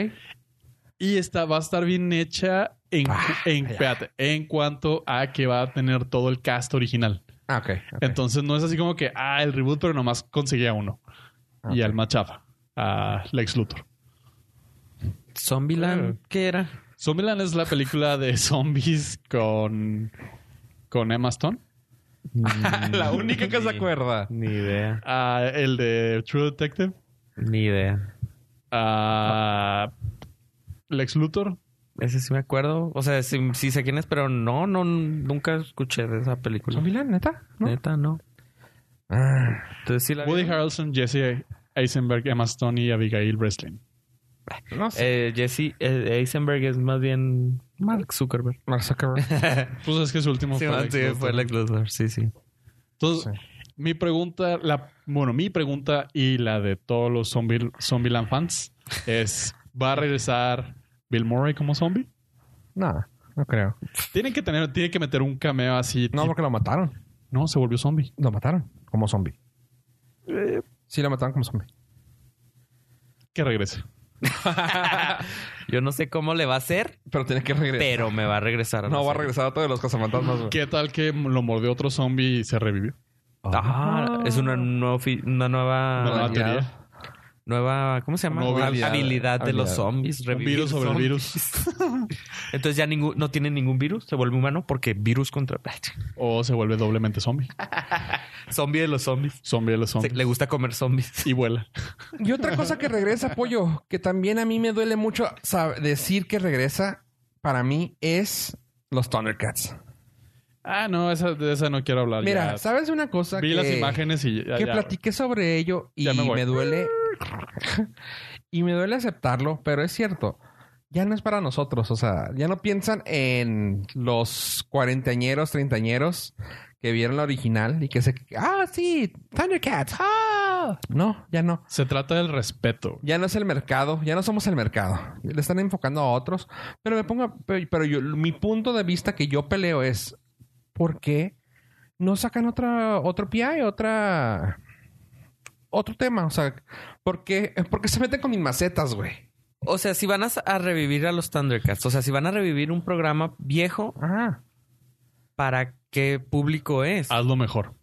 S5: y está, va a estar bien hecha en,
S3: Ah,
S5: en, espérate, en cuanto a que va a tener todo el cast original.
S3: Ah, ok. ok.
S5: Entonces no es así como que, ah, el reboot, pero nomás conseguía uno.
S3: Ah,
S5: Y
S3: ok.
S5: al más chafa, a Lex Luthor.
S4: Zombieland, ¿qué era?
S5: Zombieland es la película de [LAUGHS] zombies con, con Emma Stone.
S3: [LAUGHS] la única que se acuerda.
S4: Ni idea.
S5: Ah, el de True Detective.
S4: Ni idea.
S5: Ah, Lex Luthor.
S4: Ese sí me acuerdo. O sea, sí, sí sé quién es, pero no, no, nunca escuché de esa película.
S3: ¿Zombieland, neta? ¿No?
S4: Neta, no.
S3: Ah,
S4: Entonces sí la
S5: Woody
S4: vieron?
S5: Harrelson, Jesse Eisenberg, Emma Stone y Abigail Breslin.
S3: no sé.
S4: Eh, Jesse eh, Eisenberg es más bien Mark Zuckerberg.
S3: Mark [LAUGHS] Zuckerberg.
S5: Pues es que su último
S4: Sí,
S5: fue, Lex Luthor.
S4: fue Lex Luthor. Sí, sí.
S5: Entonces, mi pregunta, la, bueno, mi pregunta y la de todos los zombie, Zombieland fans es, ¿va a regresar Bill Murray como zombie?
S3: No, no creo.
S5: Tienen que tener, tiene que meter un cameo así.
S3: No,
S5: tipo-
S3: porque lo mataron.
S5: no se volvió zombie.
S3: Lo mataron como zombie. Sí, lo mataron como zombie.
S5: que regrese.
S4: Yo no sé cómo le va a hacer,
S3: Pero tiene que regresar.
S4: pero me va a regresar. a
S3: no
S4: la
S3: va a
S4: serie.
S3: regresar a todos los cazafantasmas. güey.
S5: ¿Qué tal que lo mordió otro zombie y se revivió?
S4: Ah, es una, nueva fi- una nueva,
S5: Una nueva
S3: Ah, ya.
S5: teoría.
S4: nueva, ¿cómo se llama?
S5: Nueva
S4: habilidad,
S3: habilidad.
S4: de los zombies.
S5: Un
S4: revivir
S5: virus sobre el
S4: zombies.
S5: virus.
S4: [LAUGHS] Entonces ya ningún, no tiene ningún virus, se vuelve humano porque virus contra [LAUGHS]
S5: O se vuelve doblemente zombie.
S4: zombie de los zombies.
S5: Zombie de los
S4: Se-
S5: zombies.
S4: le gusta comer zombies.
S5: Y vuela.
S3: Y otra cosa que regresa, Pollo, que también a mí me duele mucho sab- decir que regresa, para mí es los Thundercats.
S5: Ah, no, esa, de esa no quiero hablar.
S3: Mira,
S5: ya.
S3: ¿sabes una cosa?
S5: Vi
S3: que,
S5: las imágenes y ya.
S3: que
S5: ya.
S3: platiqué sobre ello y
S5: Ya me
S3: me,
S5: voy.
S3: duele. [LAUGHS] y me duele aceptarlo, pero es cierto. Ya no es para nosotros, o sea, ya no piensan en los cuarentañeros, treintañeros que vieron la original y que se... Ah, sí, Thundercats. Ah. No, ya no.
S5: Se trata del respeto.
S3: Ya no es el mercado, ya no somos el mercado. Le están enfocando a otros. Pero me pongo, pero pero yo, mi punto de vista que yo peleo es ¿por qué no sacan otra, otro PI, otra otro tema? O sea, ¿por qué, por qué se meten con mis macetas, güey?
S4: [LAUGHS] O sea, si van a, s- a revivir a los Thundercats, o sea, si van a revivir un programa viejo,
S3: Ah,
S4: ¿para qué público es?
S5: Hazlo mejor.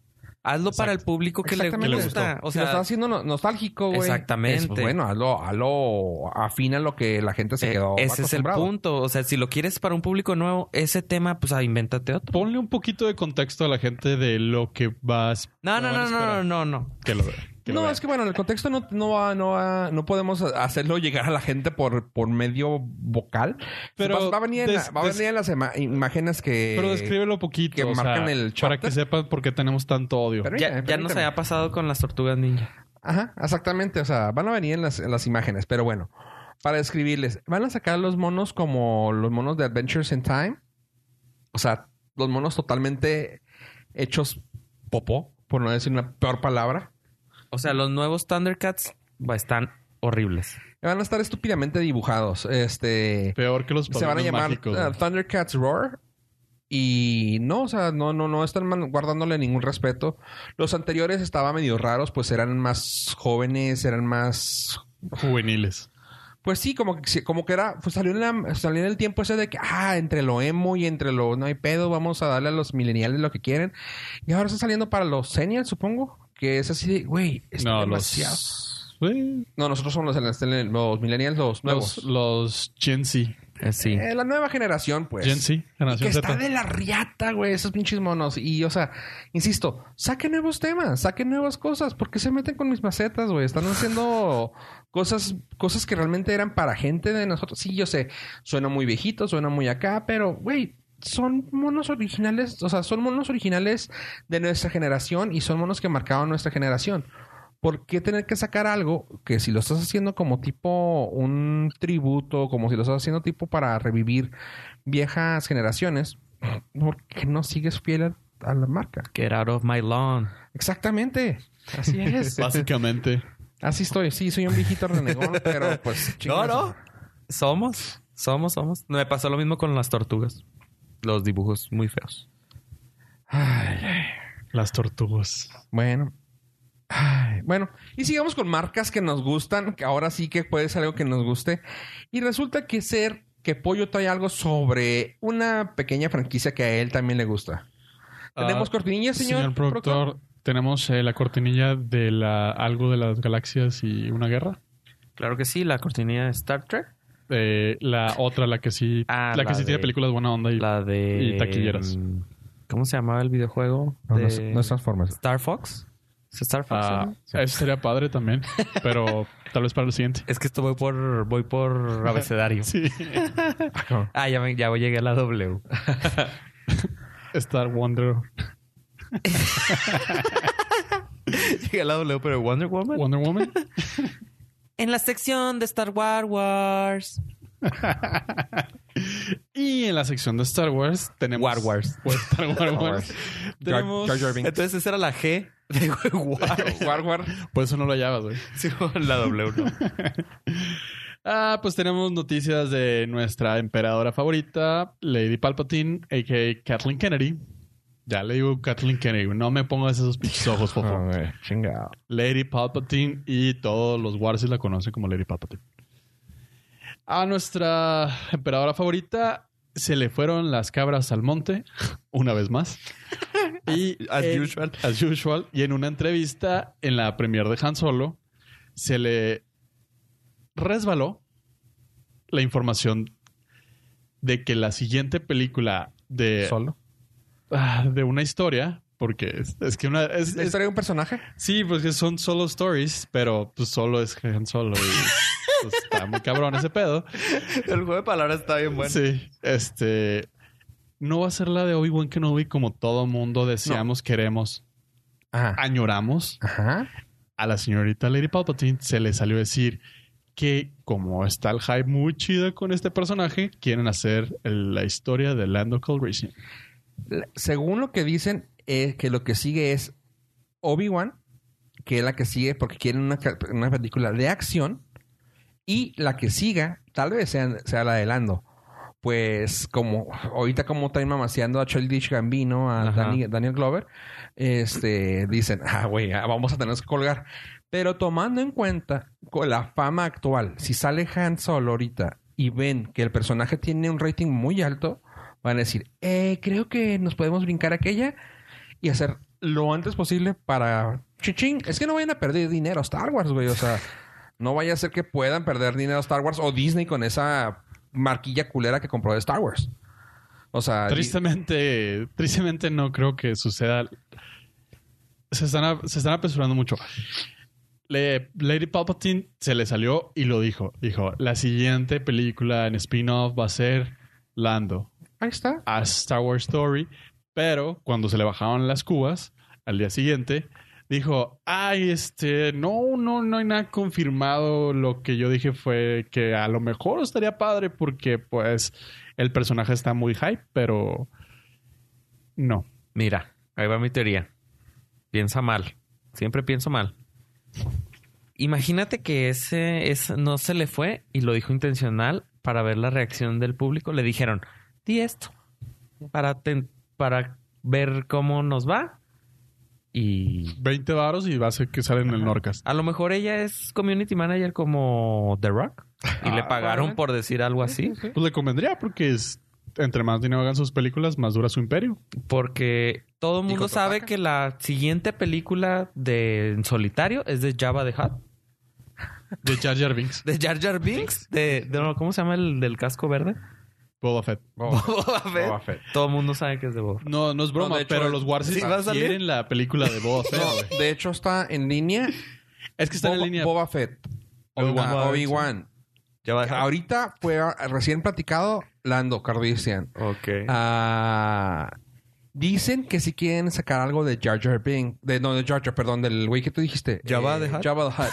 S4: Hazlo para el público que le,
S3: exactamente.
S4: gusta. O
S3: si lo
S4: sea,
S3: estás haciendo no- nostálgico, güey.
S4: Exactamente.
S3: es, bueno, hazlo, hazlo afina lo que la gente se
S4: eh,
S3: quedó.
S4: ese es el
S3: acostumbrado.
S4: punto. O sea, si lo quieres para un público nuevo, ese tema, pues ah, invéntate otro.
S5: Ponle un poquito de contexto a la gente de lo que vas.
S4: No, no,
S5: van a
S4: no, no,
S5: esperar.
S4: no, no.
S5: Que lo vea. que
S3: No,
S5: lo vea.
S3: es que bueno, en el contexto no, no, va- no, va- no podemos hacerlo llegar a la gente por, por medio vocal.
S5: Pero
S3: va, va a venir en la-
S5: des-
S3: va a
S5: des-
S3: venir en las ima- imágenes que.
S5: Pero descríbelo poquito.
S3: que
S5: o sea,
S3: marcan el
S5: Para
S3: charter.
S5: que sepan por qué tenemos tanto odio.
S3: Pero-
S4: Ya, ya nos
S3: Permíteme.
S4: había pasado con las tortugas ninja.
S3: Ajá, exactamente. O sea, van a venir en las, en las imágenes, pero bueno, para describirles, van a sacar los monos como los monos de Adventures in Time. O sea, los monos totalmente hechos popó, por no decir una peor palabra.
S4: O sea, los nuevos Thundercats bah, están horribles.
S3: Van a estar estúpidamente dibujados. Este.
S5: Peor que los
S3: se van a
S5: padrinos
S3: llamar
S5: mágicos,
S3: uh,
S5: güey.
S3: Thundercats Roar Y no, o sea, no, no, no están man- guardándole ningún respeto. Los anteriores estaban medio raros, pues eran más jóvenes, eran más
S5: Juveniles.
S3: pues sí, como que, como que era, pues salió en, la- salió en el tiempo ese de que, ah, entre lo emo y entre lo no hay pedo, vamos a darle a los millennials lo que quieren. Y ahora está saliendo para los seniors, supongo, que es así de, güey, está
S5: No,
S3: demasiado.
S5: los... eh,
S3: No, nosotros somos los, los millennials, los nuevos.
S5: Los, los Gen Z.
S4: Eh, sí.
S3: Eh, la nueva generación, pues.
S5: Gen Z,
S3: Y que
S5: generación
S3: está
S5: Z.
S3: de la riata, güey, esos pinches monos. Y, o sea, insisto, saquen nuevos temas, saquen nuevas cosas. ¿Por qué se meten con mis macetas, güey? Están haciendo cosas, cosas que realmente eran para gente de nosotros. Sí, yo sé, suena muy viejito, suena muy acá, pero, güey, son monos originales, o sea, son monos originales de nuestra generación y son monos que marcaron nuestra generación. ¿Por qué tener que sacar algo que si lo estás haciendo como tipo un tributo, como si lo estás haciendo tipo para revivir viejas generaciones, ¿por qué no sigues fiel a, a la marca?
S4: Get out of my lawn.
S3: Exactamente. Así
S4: [LAUGHS]
S3: es.
S5: Básicamente.
S3: Así estoy. Sí, soy un viejito renegón, pero pues...
S4: No,
S3: chingas.
S4: no. Somos. Somos, somos. Me pasó lo mismo con las tortugas. Los dibujos muy feos.
S5: Las tortugas.
S3: Bueno. Ay, bueno, y sigamos con marcas que nos gustan, que ahora sí que puede ser algo que nos guste. Y resulta que ser que Pollo trae algo sobre una pequeña franquicia que a él también le gusta. Tenemos
S5: Ah,
S3: cortinillas, señor.
S5: Señor productor, tenemos eh, la cortinilla de la algo de las galaxias y una guerra.
S4: Claro que sí, la cortinilla de Star Trek.
S5: Eh, la otra, la que sí,
S4: Ah,
S5: la que
S4: la
S5: sí tiene
S4: de-
S5: películas buena onda y
S4: La de.
S5: Y taquilleras.
S4: mm, ¿Cómo se llamaba el videojuego?
S3: No, no, es-
S4: de
S3: no es
S4: [LAUGHS]
S3: Transformers.
S4: Star Fox. ¿Es Star Fox?
S5: Ah,
S4: no?
S5: eso sería padre también, pero tal vez para
S4: [LAUGHS]
S5: el siguiente.
S4: Es que esto voy por, voy [LAUGHS] por abecedario.
S5: Sí.
S4: Ah, ya, me- ya llegué a la W.
S5: Star Wonder
S4: [LAUGHS] llegué a la W, pero Wonder Woman.
S5: Wonder Woman.
S4: En la sección de Star Wars Wars.
S5: Y en la sección de Star Wars tenemos
S4: War Wars.
S5: O Star War Wars. tenemos
S3: Jar- Jar Jar Binks.
S4: Entonces esa era la G de War.
S3: War, war.
S5: Por eso no lo hallabas, güey.
S4: Sí, la W no.
S5: Ah, pues tenemos noticias de nuestra emperadora favorita, Lady Palpatine, a.k.a. Kathleen Kennedy. Ya le digo Kathleen Kennedy, güey. no me pongas esos pinches ojos,
S3: [LAUGHS]
S5: por favor.
S3: Ah, Chingado.
S5: Lady Palpatine y todos los Warsis la conocen como Lady Palpatine. A nuestra emperadora favorita se le fueron las cabras al monte, una
S4: [LAUGHS]
S5: vez más. Y
S4: As
S5: en-
S4: usual.
S5: As usual. Y en una entrevista en la premier de Han Solo, se le resbaló la información de que la siguiente película de,
S3: [LAUGHS] Solo.
S5: ah, de una historia, porque es, es que una, es-
S3: ¿La
S5: es-
S3: historia de un personaje?
S5: Sí, pues que son solo stories, pero pues solo es Han Solo. Y, pues, está muy cabrón ese pedo.
S4: El juego de palabras está bien bueno.
S5: Sí, este... No va a ser la de Obi-Wan Kenobi como todo mundo deseamos, queremos,
S3: Ajá.
S5: añoramos.
S3: Ajá.
S5: A la señorita Lady Palpatine se le salió decir que como está el hype muy chido con este personaje, quieren hacer el- la historia de Lando Calrissian.
S3: La- Según lo que dicen, es que lo que sigue es Obi-Wan, que es la que sigue porque quieren una, ca- una película de acción. Y la que siga, tal vez sea, sea la de Lando. Pues como ahorita como están mamaseando a Childish Gambino, a
S4: Ajá.
S3: Dani- Daniel Glover, este dicen, ah, güey, ah, vamos a tener que colgar. Pero tomando en cuenta con la fama actual, si sale Han Solo ahorita y ven que el personaje tiene un rating muy alto, van a decir, eh, creo que nos podemos brincar aquella y hacer lo antes posible para... Chichín, es que no vayan a perder dinero Star Wars, güey. O [LAUGHS] sea, no vaya a ser que puedan perder dinero Star Wars o Disney con esa marquilla culera que compró de Star Wars. O sea,
S5: Tristemente, tristemente no creo que suceda. Se están, a- se están apresurando mucho. Le- Lady Palpatine se le salió y lo dijo. Dijo, la siguiente película en spin-off va a ser Lando,
S3: ahí está.
S5: a Star Wars Story. Pero cuando se le bajaron las cubas, al día siguiente, dijo, ay, este, no, no, no hay nada confirmado. Lo que yo dije fue que a lo mejor estaría padre porque, pues, el personaje está muy hype, pero no.
S4: Mira, ahí va mi teoría. Piensa mal. Siempre pienso mal. Imagínate que ese, ese no se le fue y lo dijo intencional para ver la reacción del público. Le dijeron, di esto. para, ten- para ver cómo nos va. Y
S5: 20 varos y va a ser que salen en el
S4: Ajá.
S5: Norcas.
S4: a lo mejor ella es community manager como The Rock. Y le
S5: Ah,
S4: pagaron por decir algo así.
S5: Pues le convendría porque es, entre más dinero hagan sus películas, más dura su imperio.
S4: Porque todo el
S3: Y
S4: mundo
S3: Cotopaxi.
S4: sabe que la siguiente película de en solitario es de Java the Hutt.
S5: De Jar Jar Binks.
S4: De Jar Jar Binks. De, de- no, ¿Cómo se llama el del casco verde?
S5: Boba Fett.
S3: Boba Fett.
S4: Boba Fett.
S3: Boba Fett.
S4: Todo el mundo sabe que es de Boba Fett.
S5: No, no es broma,
S3: No, de hecho,
S5: pero los Warsis
S4: sí va a salir.
S5: quieren la película de Boba Fett. güey.
S3: No, de hecho, está en línea.
S5: Es [LAUGHS] que está en
S3: Boba-
S5: línea.
S3: Boba Fett.
S5: Obi-Wan.
S3: Ah, Obi-Wan. Ahorita fue ah, recién platicado Lando Cardissian.
S4: Ok.
S3: Ah, dicen que si quieren sacar algo de Jar Jar Bing. De, no, de Jar Jar, perdón, del güey que tú dijiste. eh,
S4: Jabba the Hutt.
S3: Jabba the Hutt.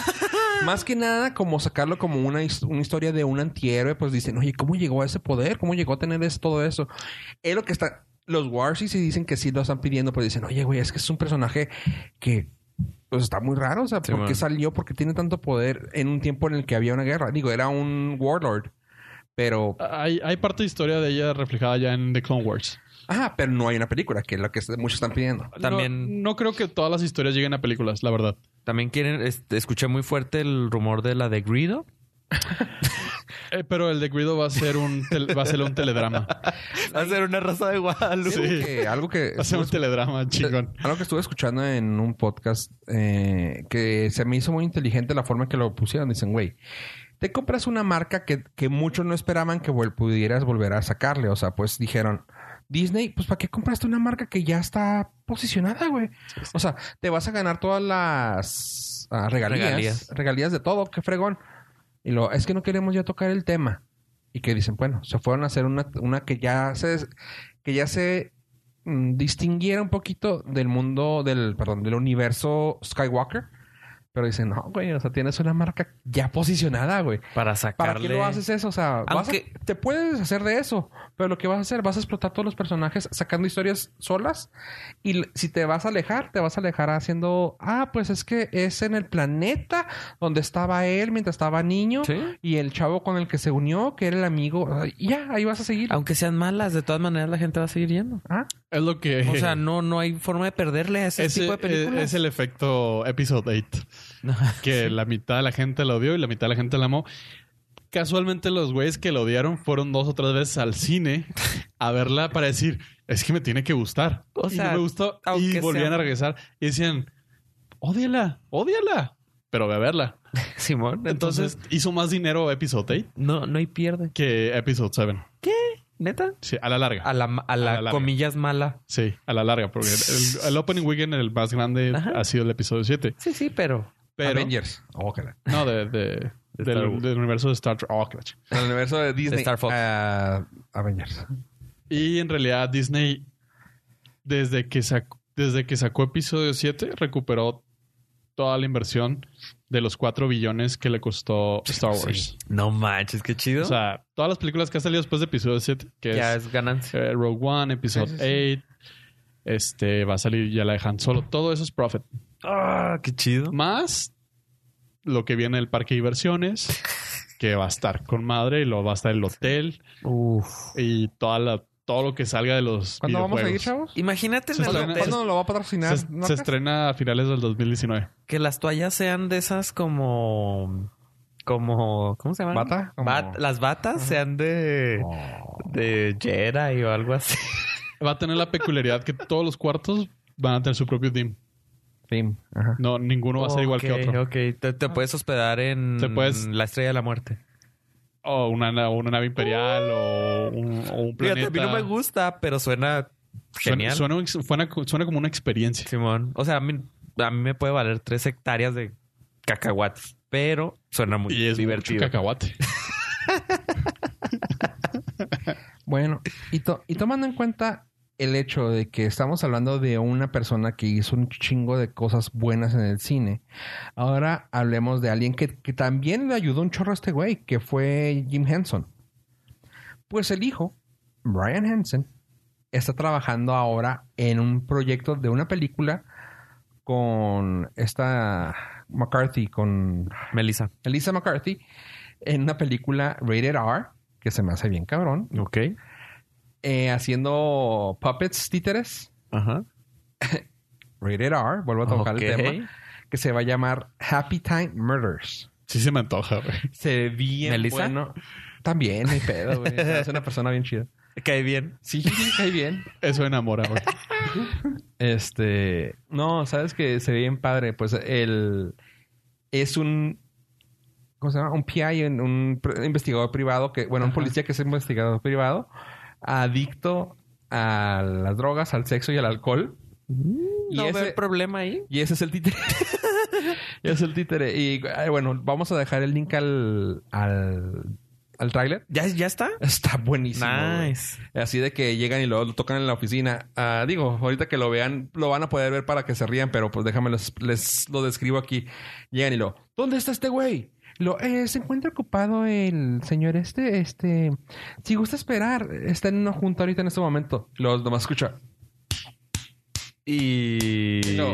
S3: Más que nada, como sacarlo como una, his- una historia de un antihéroe, pues dicen, oye, ¿cómo llegó a ese poder? ¿Cómo llegó a tener es- todo eso? Es lo que está. Los Warsis sí dicen que sí lo están pidiendo, pero dicen, oye, güey, es que es un personaje que. Pues está muy raro, o sea,
S4: Sí,
S3: ¿por qué
S4: man.
S3: salió? ¿Por qué tiene tanto poder en un tiempo en el que había una guerra? Digo, era un warlord, pero
S5: Hay, hay parte de historia de ella reflejada ya en The Clone Wars.
S3: Ajá, Ah, pero no hay una película, que es lo que muchos están pidiendo.
S4: También-
S5: No, no creo que todas las historias lleguen a películas, la verdad.
S4: También quieren... este, escuché muy fuerte el rumor de la de Greedo.
S5: Eh, pero el de Guido va a ser un, tel- va a ser un teledrama.
S4: Va a ser una raza de Guadalupe.
S5: Sí.
S3: Que algo que
S5: [LAUGHS] Va a ser un
S3: [LAUGHS]
S5: teledrama, chingón.
S3: algo que estuve escuchando en un podcast eh, que se me hizo muy inteligente la forma en que lo pusieron. Dicen, güey, te compras una marca que, que muchos no esperaban que vol- pudieras volver a sacarle. O sea, pues dijeron, Disney, pues ¿para qué compraste una marca que ya está posicionada, güey? O sea, te vas a ganar todas las ah, regalías, regalías.
S4: Regalías.
S3: de todo, qué fregón. Y lo, es que no queremos ya tocar el tema. Y que dicen, bueno, se fueron a hacer una, una que ya se des- que ya se mm, distinguiera un poquito del mundo, del, perdón, del universo Skywalker. Pero dicen, no, güey, o sea, tienes una marca ya posicionada, güey.
S4: Para
S3: ¿Para
S4: sacarle...
S3: qué lo haces eso? O sea, vas a-
S4: Aunque-
S3: te puedes hacer de eso, pero lo que vas a hacer, vas a explotar todos los personajes sacando historias solas. Y l- si te vas a alejar, te vas a alejar haciendo, ah, pues es que es en el planeta donde estaba él mientras estaba niño
S4: Sí.
S3: y el chavo con el que se unió, que era el amigo. ah, y ya, ahí vas a seguir.
S4: Aunque sean malas, de todas maneras la gente va a seguir yendo.
S3: Ah,
S5: Es lo [LAUGHS] que.
S4: O [LAUGHS] sea, no, no hay forma de perderle a ese,
S5: Ese- eh,
S4: tipo de películas.
S5: es el efecto Episode
S4: [LAUGHS]
S5: 8. Que la mitad de la gente la odió y la mitad de la gente la amó. Casualmente, los güeyes que la odiaron fueron dos o tres veces al cine a verla para decir: Es que me tiene que gustar.
S4: O
S5: y no
S4: sea,
S5: me gustó. Y
S4: aunque
S5: volvían
S4: sea-
S5: a regresar y decían: Ódiala, ódiala. Pero ve a verla.
S4: Simón.
S5: Entonces,
S4: Entonces,
S5: hizo más dinero Episode 8
S4: no, no hay pierde.
S5: que Episode 7.
S4: ¿Neta?
S5: Sí, a la larga.
S4: A la, a la,
S5: A la larga.
S4: comillas mala.
S5: Sí, a la larga, porque el, el opening weekend, el más grande,
S4: Ajá.
S5: ha sido el episodio 7.
S4: Sí, sí, pero...
S5: Pero,
S3: Avengers. Oh, que la-
S5: No, de, de-
S4: Star
S5: del,
S4: Wars.
S5: del universo de Star Trek. Oh, qué la ch-
S3: El universo de Disney.
S4: Star Fox.
S3: Ah, Avengers.
S5: Y en realidad Disney, desde que, sacó, desde que sacó episodio 7, recuperó toda la inversión de los 4 billones que le costó Star Wars.
S4: No manches, qué chido.
S5: O sea, todas las películas que han salido después de episodio 7, que
S4: ya
S5: es,
S4: es ganancia.
S5: eh, Rogue One, episodio
S3: Sí, sí, sí.
S5: 8, este, va a salir ya la dejan solo. Todo eso es profit.
S4: Ah, qué chido.
S5: Más lo que viene del parque de diversiones, que va a estar con madre, y luego va a estar el hotel
S4: Uf.
S5: y toda la, todo lo que salga de los
S3: ¿Cuándo vamos a ir,
S5: videojuegos.
S3: chavos?
S4: Imagínate en
S5: Se
S4: el
S5: estrena-
S4: hotel
S5: ¿Cuándo
S3: ¿Cuándo lo va a patrocinar?
S5: se, se estrena a finales del 2019.
S4: que las toallas sean de esas como... Como... ¿Cómo se llaman?
S3: ¿Bata? Como-
S4: Bat- las batas sean de...
S5: Oh.
S4: De Jedi o algo así.
S5: Va a tener la peculiaridad que todos los cuartos van a tener su propio team. No, ninguno va a ser igual que
S4: Ok,
S5: otro.
S4: ok. Te, te puedes hospedar en
S5: Te puedes-
S4: la Estrella de la Muerte.
S5: O una, na- una nave imperial o un, o un
S4: Fíjate,
S5: planeta.
S4: a mí no me gusta, pero suena
S5: Suena-
S4: genial.
S5: Suena, un- suena- suena como una experiencia.
S4: Simón. O sea, a mí, a mí me puede valer tres hectáreas de cacahuates, pero suena muy
S5: y es divertido.
S4: divertido.
S5: cacahuate.
S3: Bueno, y, to- y tomando en cuenta el hecho de que estamos hablando de una persona que hizo un chingo de cosas buenas en el cine, ahora hablemos de alguien que, que también le ayudó un chorro a este güey, que fue Jim Henson. Pues el hijo, Brian Henson, está trabajando ahora en un proyecto de una película con esta McCarthy, con
S4: Melissa.
S3: Elisa McCarthy, en una película Rated R, que se me hace bien cabrón
S4: Ok.
S3: eh, haciendo puppets títeres.
S4: Ajá.
S3: Rated R, vuelvo a tocar
S4: Ok.
S3: el tema. Que se va a llamar Happy Time Murders.
S5: Sí se me antoja, güey.
S3: Se ve bien
S4: ¿Melissa?
S3: bueno. También, hay pedo, [LAUGHS] güey. Es una persona bien chida.
S4: Cae bien.
S3: Sí, sí, cae bien.
S5: Eso enamora, güey.
S3: Este, no, sabes que se ve bien padre. Pues el es un ¿cómo se llama? Un PI, un, un pr- investigador privado que, bueno, un policía que es investigador privado, adicto a las drogas, al sexo y al alcohol. Y
S4: No
S3: ese-
S4: veo el problema ahí.
S3: Y ese es el títere. [LAUGHS] y ese es el títere. Y ay, bueno, vamos a dejar el link al al, al tráiler.
S4: ¿Ya, ya está?
S3: Está buenísimo. güey.
S4: Nice.
S3: Así de que llegan y lo, lo tocan en la oficina. Ah, digo, ahorita que lo vean, lo van a poder ver para que se rían, pero pues déjame les, les lo describo aquí. Llegan y lo, ¿dónde está este güey? Lo, "Eh, se encuentra ocupado el señor este, este, si gusta esperar, está en una junta ahorita en este momento. Los nomás escucha.
S4: Y...
S3: No,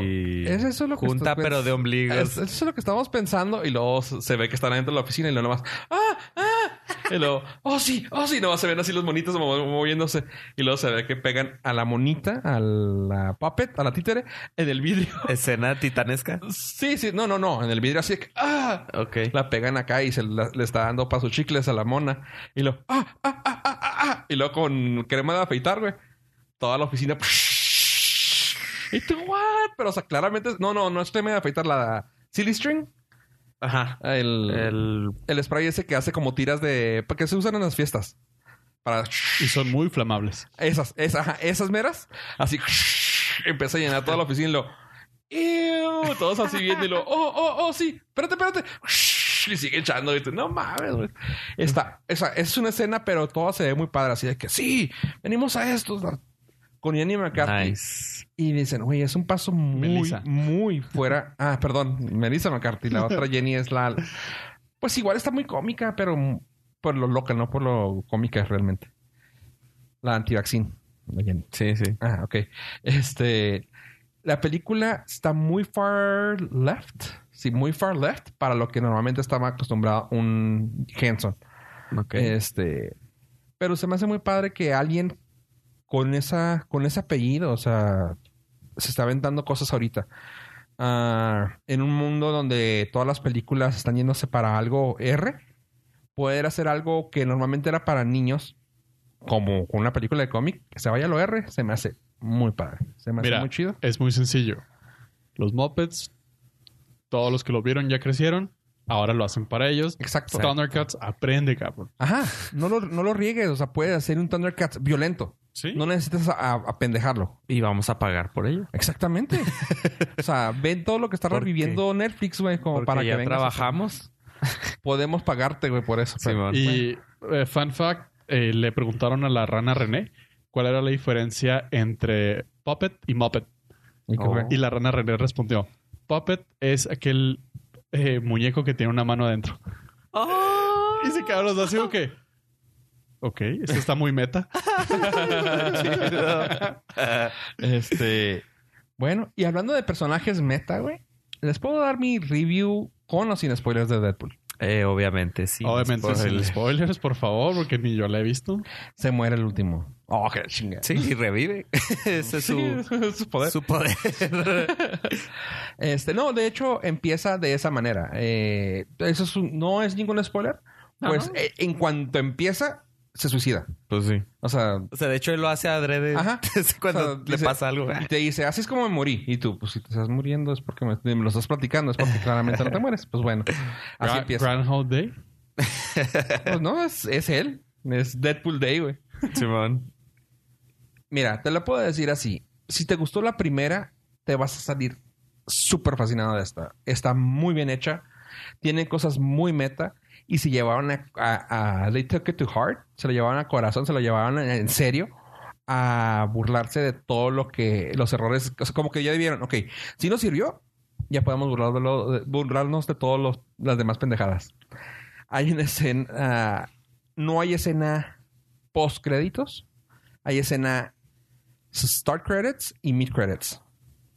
S3: es eso lo que
S4: Junta,
S3: estás-
S4: pero
S3: [LAUGHS]
S4: de
S3: Es-
S4: ombligos.
S3: eso es lo que estábamos pensando y luego se se ve que están adentro de la oficina y luego nomás, ¡ah! ¡ah! Y luego, ¡oh sí! ¡oh sí! Nomás se ven así los monitos mo- moviéndose y luego se ve que pegan a la monita, a la puppet, a la títere, en el vidrio. [LAUGHS]
S4: Escena titanesca.
S3: Sí, sí, no, no, no, en el vidrio así de que, ¡ah!
S4: Ok.
S3: La pegan acá y se la- le está dando pasos chicles a la mona y luego, ¡ah! ¡ah! ¡ah! ¡ah! ah, ah! Y luego con crema de afeitar, güey. Toda la oficina. [LAUGHS] Y tú, ¿what? Pero, o sea, claramente, no, no, no es crema de afeitar la silly string.
S4: Ajá.
S3: El, el,
S4: El...
S3: spray ese que hace como tiras de. pues, que se usan en las fiestas. Para.
S5: Y son muy flamables.
S3: Esas, esas, ajá, esas meras. Así. [LAUGHS] Empieza a llenar toda la oficina y lo. "Ew", Todos así viendo y lo. Oh, oh, oh, sí. Espérate, espérate. [LAUGHS] Y sigue echando. Y tú, no mames, güey. Está. Esa, es una escena, pero todo se ve muy padre. Así de que sí, venimos a esto. Con Yanni McCarthy.
S4: Nice.
S3: Y dicen, oye, es un paso muy,
S5: Melissa.
S3: muy fuera. Ah, perdón, Melissa McCarthy. La otra Jenny es la. Pues igual está muy cómica, pero por lo loca, no por lo cómica realmente. La antivaccín, la Jenny.
S4: Sí, sí.
S3: Ah, ok. Este. La película está muy far left. Sí, muy far left para lo que normalmente estaba acostumbrado un Henson.
S4: Ok.
S3: Este. Pero se me hace muy padre que alguien con esa. con ese apellido, o sea. Se está aventando cosas ahorita. Ah, en un mundo donde todas las películas están yéndose para algo R. Poder hacer algo que normalmente era para niños, como con una película de cómic, que se vaya a lo R, se me hace muy padre. Se me hace
S5: Mira,
S3: muy chido.
S5: es muy sencillo. Los Muppets, todos los que lo vieron ya crecieron. Ahora lo hacen para ellos.
S3: Exacto.
S5: Thundercats aprende, cabrón.
S3: Ajá. No lo, no lo riegues. O sea, puedes hacer un Thundercats violento.
S5: Sí.
S3: No necesitas a- a- apendejarlo.
S4: Y vamos a pagar por ello.
S3: Exactamente. o sea, ven todo lo que está
S4: ¿Por
S3: reviviendo Netflix, güey, como
S4: Porque
S3: para que
S4: ya
S3: vengas.
S4: trabajamos.
S3: Podemos pagarte, güey, por eso. pero-
S4: Simón.
S5: Y eh, fun fact, eh, le preguntaron a la rana René cuál era la diferencia entre puppet y muppet.
S3: ¿Y qué
S4: Oh.
S3: fue?
S5: Y la rana René respondió, puppet es aquel eh, muñeco que tiene una mano adentro.
S4: ¡Oh!
S5: Y se quedaron los dos así, ¿o qué? Ok, esto está muy meta.
S3: Este. Bueno, y hablando de personajes meta, güey, les puedo dar mi review con o sin spoilers de Deadpool.
S4: Eh, obviamente, sí.
S5: Obviamente, sin
S4: Spoiler.
S5: spoilers, por favor, porque ni yo la he visto.
S3: Se muere el último. Oh, qué chingada.
S4: Sí, y revive. [LAUGHS] Ese
S3: [LAUGHS]
S4: es su,
S3: su poder.
S4: su poder.
S3: Este, no, de hecho, empieza de esa manera. Eh, eso es un- no es ningún spoiler.
S4: No,
S3: Pues
S4: no.
S3: eh, en cuanto empieza, se suicida.
S4: [LAUGHS] pues sí.
S3: O sea,
S4: O sea, de hecho, él lo hace adrede [LAUGHS]
S3: Ajá.
S4: cuando
S3: O sea,
S4: le
S3: dice- "Ah".
S4: pasa algo. [LAUGHS]
S3: Y te dice, así es como me morí. Y tú, pues si te estás muriendo es porque me, me lo estás platicando, es porque claramente
S4: [LAUGHS]
S3: no te mueres. Pues bueno, así
S5: Gra-
S3: empieza.
S5: Groundhog Day.
S3: Pues no, es, es él. Es Deadpool Day, güey.
S4: Simón.
S3: Mira, te lo puedo decir así. Si te gustó la primera, te vas a salir súper fascinado de esta. Está muy bien hecha. Tiene cosas muy meta. Y se llevaron a, a- a- They took it to heart. Se lo llevaron a corazón. Se lo llevaron en- en serio. A burlarse de todo lo que... Los errores... o sea, como que ya vieron. Ok. Si nos sirvió, ya podemos burlarlo- de- burlarnos de todas las demás pendejadas. Hay una escena... ah, no hay escena post créditos hay escena start credits y mid credits.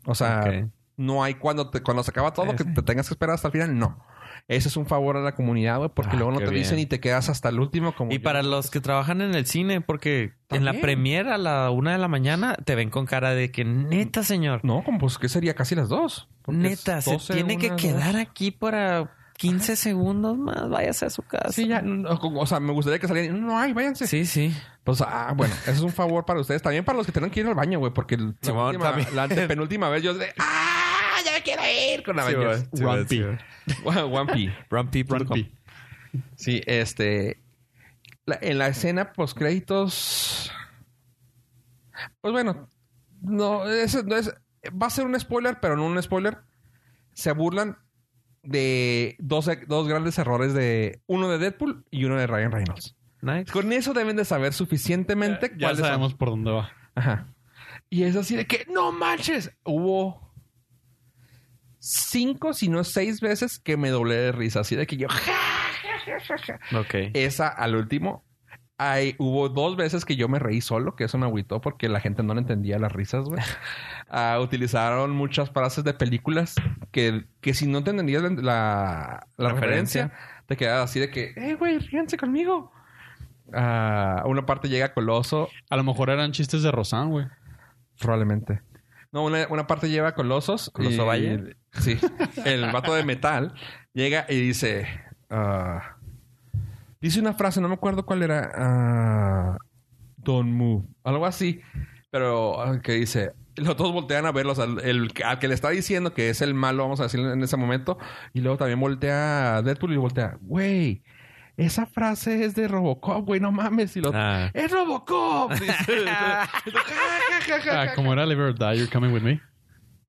S3: O sea,
S4: Ok.
S3: no hay cuando te, cuando se acaba todo
S4: Sí,
S3: que
S4: sí.
S3: te tengas que esperar hasta el final, no. Ese es un favor a la comunidad, güey, porque
S4: Ah,
S3: luego no
S4: qué
S3: te dicen
S4: bien.
S3: y te quedas hasta el último. Como
S4: Y
S3: yo.
S4: para los que trabajan en el cine, porque en la
S3: También.
S4: premier a la una de la mañana te ven con cara de que neta, señor,
S3: No, como pues que sería casi las dos. Porque
S4: neta,
S3: es 12,
S4: se tiene que
S3: una,
S4: quedar aquí para 15 segundos más, váyase a su casa.
S3: dos. Sí, ya. no, como- o sea, me gustaría que salieran. No hay, váyanse.
S4: Sí, sí.
S3: Pues, ah, bueno, ese es un favor para ustedes. También para los que tengan que ir al baño, güey, porque el- la,
S4: Simón,
S3: última-
S4: también.
S3: la antepenúltima vez yo de ¡Ah! ¡Ya me quiero ir! Con la
S1: Sí,
S3: Avengers.
S1: güey.
S5: Grumpy.
S3: [LAUGHS] One
S1: Rumpy.com.
S5: Grumpy.
S3: Sí, este. la- en la escena post créditos. Pues bueno. No, ese no es. Va a ser un spoiler, pero no un spoiler. Se burlan de dos, dos grandes errores de uno de Deadpool y uno de Ryan Reynolds.
S4: Nice.
S3: Con eso deben de saber suficientemente
S5: Eh, Ya- Ya
S3: cuáles son.
S5: sabemos por dónde va.
S3: Ajá. Y es así de que, no manches, hubo cinco, si no seis veces que me doblé de risa. Así de que yo, "Ja, ja, ja, ja".
S4: Ok.
S3: esa al último. Hay, hubo dos veces que yo me reí solo, que eso me agüitó porque la gente no le entendía las risas, [LAUGHS] güey. Ah, utilizaron muchas frases de películas que, que si no te entendías la, la- la
S4: Referencia.
S3: referencia, te quedabas así de que, eh, güey, ríanse conmigo. Ah, a una parte llega Coloso
S5: A lo mejor eran chistes de Rosan, güey.
S3: Probablemente. No, una, una parte lleva colosos.
S4: ¿Coloso
S3: y-
S4: Valle?
S3: Sí. El vato de metal llega y dice... ah, dice una frase, no me acuerdo cuál era. ah, Don't move. Algo así. Pero ah, que dice... Los dos voltean a verlos. Al, el- al que le está diciendo que es el malo, vamos a decir en ese momento. Y luego también voltea a Deadpool y voltea... Güey, esa frase es de Robocop, güey. No mames. Y lo...
S4: Ah.
S3: ¡Es Robocop! Dice. Ja, ja, ja, ja,
S5: Ah,
S3: ja.
S5: como era Live or Die, You're Coming With Me.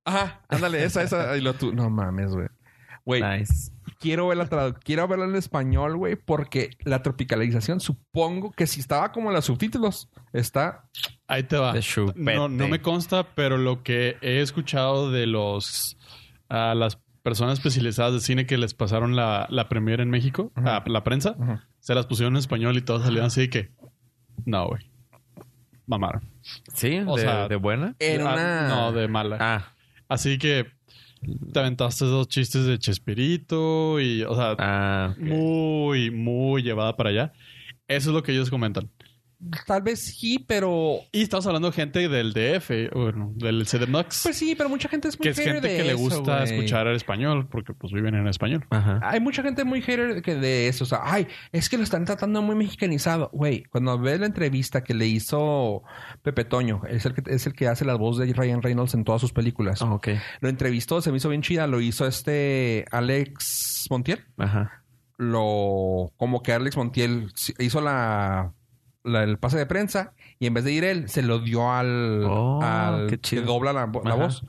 S3: Ajá, ándale, esa, esa. Y lo tú. No mames, güey. Güey,
S4: Nice.
S3: quiero verla tradu- quiero verla en español, güey, porque la tropicalización, supongo que si estaba como en los subtítulos, está.
S5: Ahí te va.
S4: De chupete.
S5: No, no me consta, pero lo que he escuchado de los a las personas especializadas de cine que les pasaron la, la premiere en México,
S3: Ajá.
S5: a la prensa, se las pusieron en español y todos salieron así que. No, güey. Mamaron.
S4: Sí,
S5: O
S4: de,
S5: sea-
S4: de buena.
S3: En
S5: Ah,
S3: una.
S5: No, de mala.
S4: Ah,
S5: Así que te aventaste dos chistes de Chespirito y, o sea,
S4: ah.
S5: muy, muy llevada para allá. Eso es lo que ellos comentan.
S3: Tal vez sí, pero.
S5: Y estamos hablando de gente del DF, bueno, del CDMX,
S3: Pues sí, pero mucha gente es muy
S5: que es
S3: hater
S5: gente
S3: de
S5: que le
S3: eso,
S5: gusta
S3: güey.
S5: escuchar el español, porque pues viven en español.
S4: Ajá.
S3: Hay mucha gente muy hater que de eso. O sea, ay, es que lo están tratando muy mexicanizado. Güey, cuando ves la entrevista que le hizo Pepe Toño, es el que, es el que hace la voz de Ryan Reynolds en todas sus películas.
S4: Ah, ok.
S3: Lo entrevistó, se me hizo bien chida. Lo hizo este Alex Montiel.
S4: Ajá.
S3: Lo. Como que Alex Montiel si- hizo la. la- el pase de prensa y en vez de ir él, se lo dio al.
S4: Oh,
S3: al
S4: qué chido.
S3: que dobla la, vo- la
S4: Ajá.
S3: voz.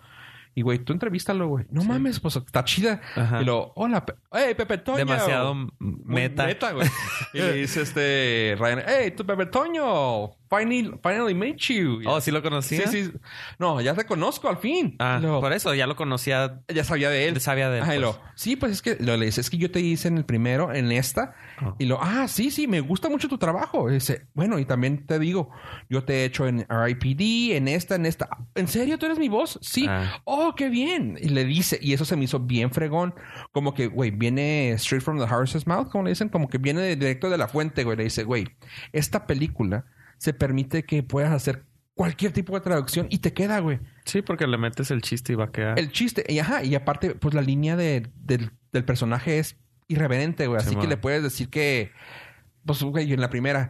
S3: Y güey, tú entrevístalo, güey. No mames, pues está chida.
S4: Ajá.
S3: Y lo. Hola, Pe- hey, Pepe Toño.
S4: Demasiado m-
S3: Muy
S4: meta.
S3: Meta,
S4: [LAUGHS]
S3: güey. y le dice este. Ryan, hey, tú, Pepe Toño. Finally, finally met you.
S4: Oh, sí lo conocía.
S3: Sí, sí. No, ya te conozco al fin.
S4: Ah,
S3: Y lo-
S4: por eso ya lo conocía.
S3: ya sabía de él.
S4: Sabía de él,
S3: Ajá, y
S4: pues.
S3: lo, sí, pues es que lo le dice, es que yo te hice en el primero, en esta.
S4: Ah.
S3: Y lo, ah, sí, sí, me gusta mucho tu trabajo. Y dice, bueno, y también te digo, yo te he hecho en RIPD, en esta, en esta. ¿En serio tú eres mi voz? Sí.
S4: Ah.
S3: Oh, qué bien. Y le dice, y eso se me hizo bien fregón. Como que, güey, viene straight from the horse's mouth, como le dicen, como que viene de- directo de la fuente, güey. Le dice, güey, esta película se permite que puedas hacer cualquier tipo de traducción y te queda, güey
S4: Sí, porque le metes el chiste y va a quedar.
S3: el chiste. Y ajá, y aparte, pues la línea de- del, del personaje es irreverente, güey. Así
S4: Simón.
S3: que le puedes decir que, pues, güey, en la primera,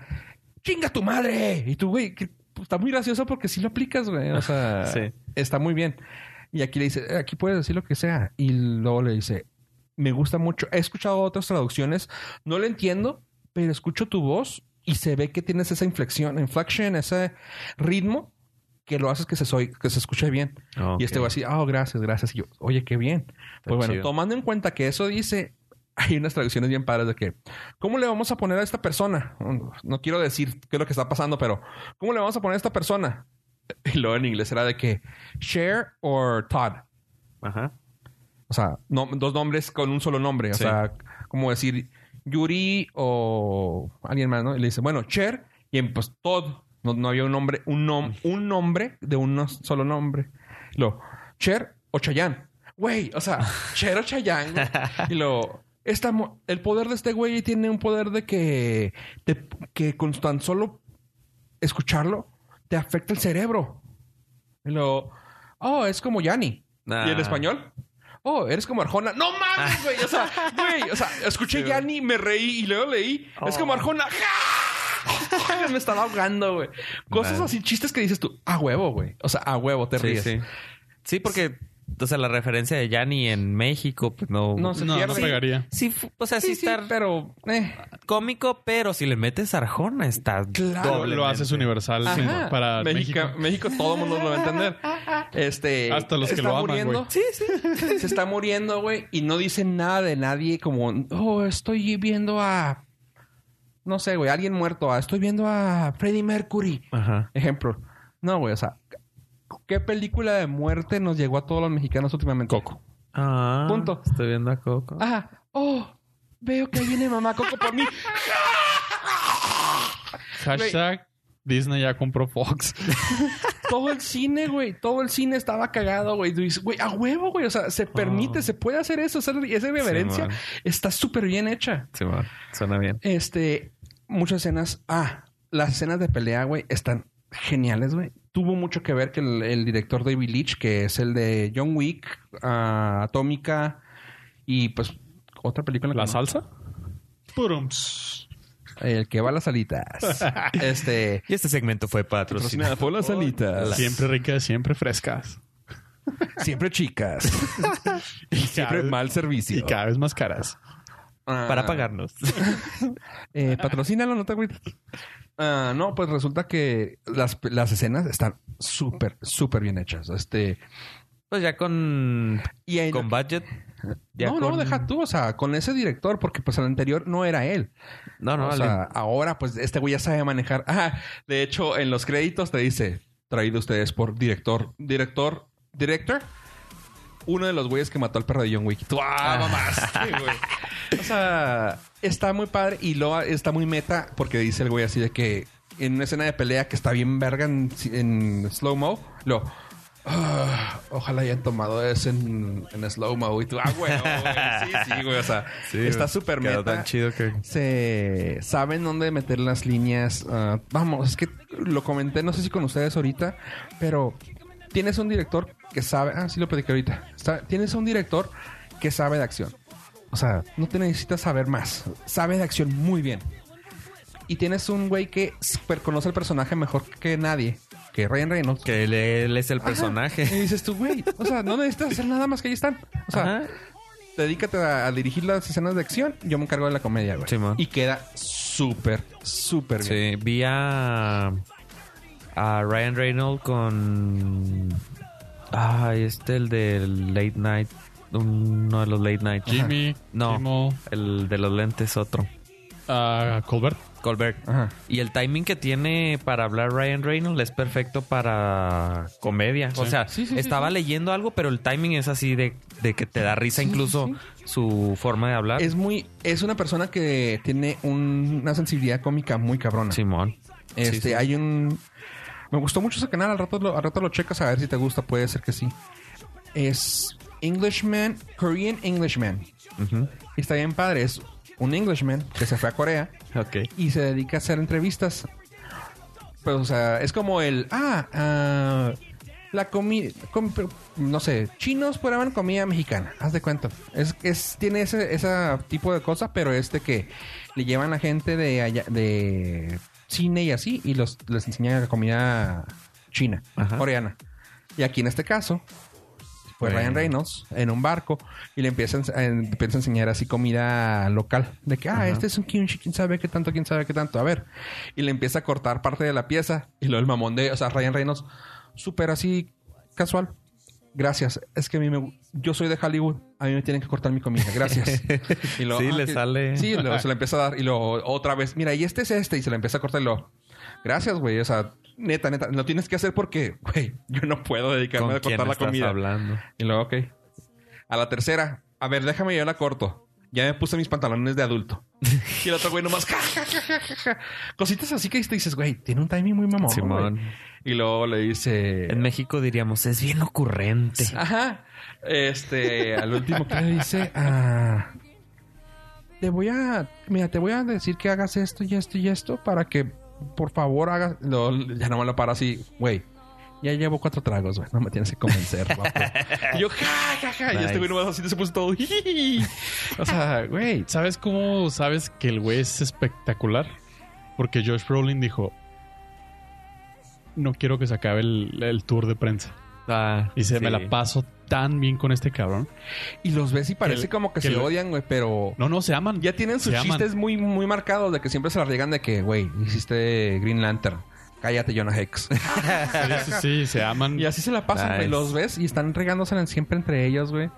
S3: ¡chinga tu madre! Y tú, güey, que- pues, está muy gracioso porque sí lo aplicas, güey. O sea,
S4: [LAUGHS] Sí.
S3: está muy bien. Y aquí le dice, aquí puedes decir lo que sea. Y luego le dice, me gusta mucho. He escuchado otras traducciones, no lo entiendo, pero escucho tu voz y se ve que tienes esa inflexión, inflection, ese ritmo que lo haces que se, soy, que se escuche bien.
S4: Ok.
S3: Y este güey así, ah, oh, gracias, gracias. Y yo, oye, qué bien. pues bueno,
S4: chido.
S3: tomando en cuenta que eso dice, [LAUGHS] hay unas traducciones bien padres de que, ¿cómo le vamos a poner a esta persona? Mm, No quiero decir qué es lo que está pasando, pero, ¿cómo le vamos a poner a esta persona? [LAUGHS] Y luego en inglés era de que, Share or Todd.
S4: Ajá.
S3: O sea, no- dos nombres con un solo nombre. O
S4: Sí.
S3: sea, como decir Yuri o alguien más, ¿no? Y le dice, bueno, Cher y en, pues Todd. No, no había un nombre, un, nom- un nombre de un solo nombre. Lo, Cher o Chayanne. Güey, o sea, Cher o Chayanne. güey. Y lo, esta mo- el poder de este güey tiene un poder de que, te- que con tan solo escucharlo te afecta el cerebro. Y luego, oh, es como Yanni.
S4: Ah.
S3: ¿Y el español? Oh, eres como Arjona. ¡No mames, güey! O sea, güey, o sea, escuché Yanni, me reí y luego leí. Es
S4: Oh.
S3: como Arjona. [LAUGHS] ¡Ja! me estaba ahogando, güey. Cosas
S4: Vale.
S3: así, chistes que dices tú, a huevo, güey. O sea, a huevo, te
S4: Sí,
S3: ríes.
S4: sí. Sí, porque, o sea, la referencia de Yanni en México, pues no.
S3: No se
S5: No, no
S3: pierde.
S5: pegaría.
S4: Sí, fu- o sea, sí,
S3: Sí, sí,
S4: está
S3: pero... eh.
S4: cómico, pero si le metes Arjona, está.
S3: Claro,
S5: Lo, lo haces universal
S3: Ah, Ajá.
S5: sí, para México.
S3: México. México, todo el mundo lo va a entender. Este,
S5: Hasta los
S3: se
S5: que
S3: está
S5: lo aman,
S3: muriendo.
S5: güey.
S3: Sí, sí. Se está muriendo, güey, y no dice nada de nadie como, oh, estoy viendo a, no sé, güey, alguien muerto, a, estoy viendo a Freddie Mercury.
S4: Ajá.
S3: Ejemplo. No, güey, o sea, ¿qué película de muerte nos llegó a todos los mexicanos últimamente? Coco.
S4: Ah,
S3: Punto.
S4: Estoy viendo a Coco.
S3: Ajá. Oh, veo que viene mamá Coco por mí.
S5: Hashtag Disney ya
S3: [LAUGHS]
S5: compró Fox.
S3: todo el cine, güey. Todo el cine estaba cagado, güey. Tú dices, güey, a huevo, güey. O sea, se permite, se puede hacer eso. Esa, esa reverencia
S4: man.
S3: está súper bien hecha.
S4: Sí, bueno, suena bien.
S3: Este, muchas escenas. Ah, las escenas de pelea, güey, están geniales, güey. Tuvo mucho que ver que el, el director David Leitch, que es el de John Wick, ah, Atómica y pues otra película. que
S5: ¿La
S3: no-
S5: salsa? Purums.
S3: El que va a las
S5: [LAUGHS]
S3: alitas. este.
S4: Y este segmento fue patrocinado.
S3: por las alitas.
S5: Siempre ricas, siempre frescas.
S3: Siempre chicas.
S5: [LAUGHS] Y
S3: Siempre
S5: cada-
S3: mal
S5: Y
S3: servicio. Ah.
S5: cada vez más caras.
S4: Para
S3: pagar.
S4: pagarnos.
S3: Eh, patrocínalo, no te agüites. Ah, no, pues resulta que las, las escenas están súper, súper bien hechas. Este.
S4: [LAUGHS] Pues ya con.
S3: Y ahí-
S4: Con budget. ya
S3: no,
S4: con-
S3: no, deja tú, o sea, con ese director, porque pues el anterior no era él.
S4: No, no,
S3: o
S4: al-
S3: sea, ahora pues este güey ya sabe manejar. [LAUGHS] Ah, de hecho, en los créditos te dice, traído ustedes por director, director, director. Uno de los güeyes que mató al perro de John Wick. Tú, ah, mamaste, [LAUGHS] güey. O sea, está muy padre y luego está muy meta porque dice el güey así de que en una escena de pelea que está bien verga en, en slow-mo, lo... "Ah, ojalá hayan tomado eso en, en slow-mo. Y tú, ah, güey, güey. Sí, sí, güey. O
S4: [LAUGHS]
S3: sea, está súper
S4: quedó
S3: meta
S4: tan chido que.
S3: se saben dónde meter las líneas. ah, vamos, es que lo comenté, no sé si con ustedes ahorita, pero tienes un director que sabe. Ah, sí lo pedí ahorita. Sa- Tienes un director que sabe de acción. O sea, no te necesitas saber más. Sabe de acción muy bien. Y tienes un güey que super conoce el personaje mejor que nadie, que Ryan Reynolds.
S4: Que él, él es el
S3: Y
S4: personaje.
S3: dices tú, güey, o sea, no necesitas hacer nada más que ahí están. O sea,
S4: Ajá.
S3: dedícate a, a dirigir las escenas de acción, yo me encargo de la comedia, güey.
S4: Sí, man.
S3: y queda súper, súper bien.
S4: Sí, vi a, a Ryan Reynolds con. Ay, este, el del Late Night. Uno de los Late Night.
S5: Jimmy,
S4: No.
S5: Timo,
S4: El de los lentes, otro.
S5: ah, Colbert.
S4: Colbert.
S3: Ajá.
S4: Y el timing que tiene para hablar Ryan Reynolds es perfecto para comedia. O sea, estaba leyendo algo, pero el timing es así de, de que te da risa incluso su forma de hablar.
S3: Es muy, es una persona que tiene un- una sensibilidad cómica muy cabrona.
S4: Simón.
S3: Este,
S4: Sí, sí.
S3: hay un. Me gustó mucho ese canal. Al rato, lo, al rato lo checas a ver si te gusta. Puede ser que sí. Es Englishman, Korean Englishman. Y está bien padre. Es un Englishman que se fue a Corea
S4: Ok.
S3: y se dedica a hacer entrevistas. Pero, o sea, es como el. Ah, ah, la comida. no sé, chinos prueban comida mexicana. Haz de cuenta. Es, es, tiene ese, ese tipo de cosas, pero es de que le llevan a gente de, allá- de cine y así y los, les enseñan la comida china,
S4: Ajá.
S3: coreana. Y aquí en este caso, pues
S4: Bueno.
S3: Ryan Reynolds en un barco y le empiezan a, en- empieza a enseñar así comida local. De que, ah, este es un kimchi, quién sabe qué tanto, quién sabe qué tanto. A ver. Y le empieza a cortar parte de la pieza y luego el mamón de, o sea, Ryan Reynolds, súper así casual. Gracias. Es que a mí me. gu- Yo soy de Hollywood. A mí me tienen que cortar mi comida.
S4: [LAUGHS]
S3: Gracias. Y luego,
S4: Sí, le
S3: que-
S4: sale.
S3: Sí, luego se lo empieza a dar. Y luego otra vez. Mira, y este es este. Y se lo empieza a cortar. Y luego, gracias, güey. O sea, neta, neta. Lo tienes que hacer porque, [LAUGHS] güey, yo no puedo dedicarme a cortar la comida.
S4: hablando?
S3: Y luego, ok. A la tercera, a ver, déjame yo la corto. Ya me puse mis pantalones de adulto.
S4: [LAUGHS]
S3: Y el otro güey nomás. ja, ja, ja, ja, ja, ja. Cositas así que te dices, güey, tiene un timing muy mamón.
S4: Simón.
S3: güey. Y luego le dice.
S4: En México diríamos, es bien ocurrente.
S3: Ajá. Este, al último que le dice. Ah, te voy a, mira, te voy a decir que hagas esto y esto y esto para que, por favor, hagas. No, ya no me lo para así, güey. Ya llevo cuatro tragos, güey. No me tienes que convencer, vato. Y yo, ja, ja, ja. Y
S4: Nice.
S3: este güey nomás así se puso todo. o sea, güey.
S5: ¿Sabes cómo sabes que el güey es espectacular? Porque Josh Brolin dijo: No quiero que se acabe el, el tour de prensa.
S4: Ah,
S5: Y se
S4: sí.
S5: me la paso tan bien con este cabrón.
S3: Y los ves y parece
S5: Que-
S3: como que,
S5: que
S3: se
S5: lo-
S3: odian, güey, pero.
S5: No, no, se aman.
S3: Ya tienen sus
S5: Se aman.
S3: chistes muy, muy marcados de que siempre se la riegan de que, güey, hiciste Green Lantern. Cállate, Jonah Hex.
S5: Sí, sí, se aman.
S3: y así se la pasan,
S4: Nice.
S3: güey. Los ves y están regándose en- siempre entre ellos, güey.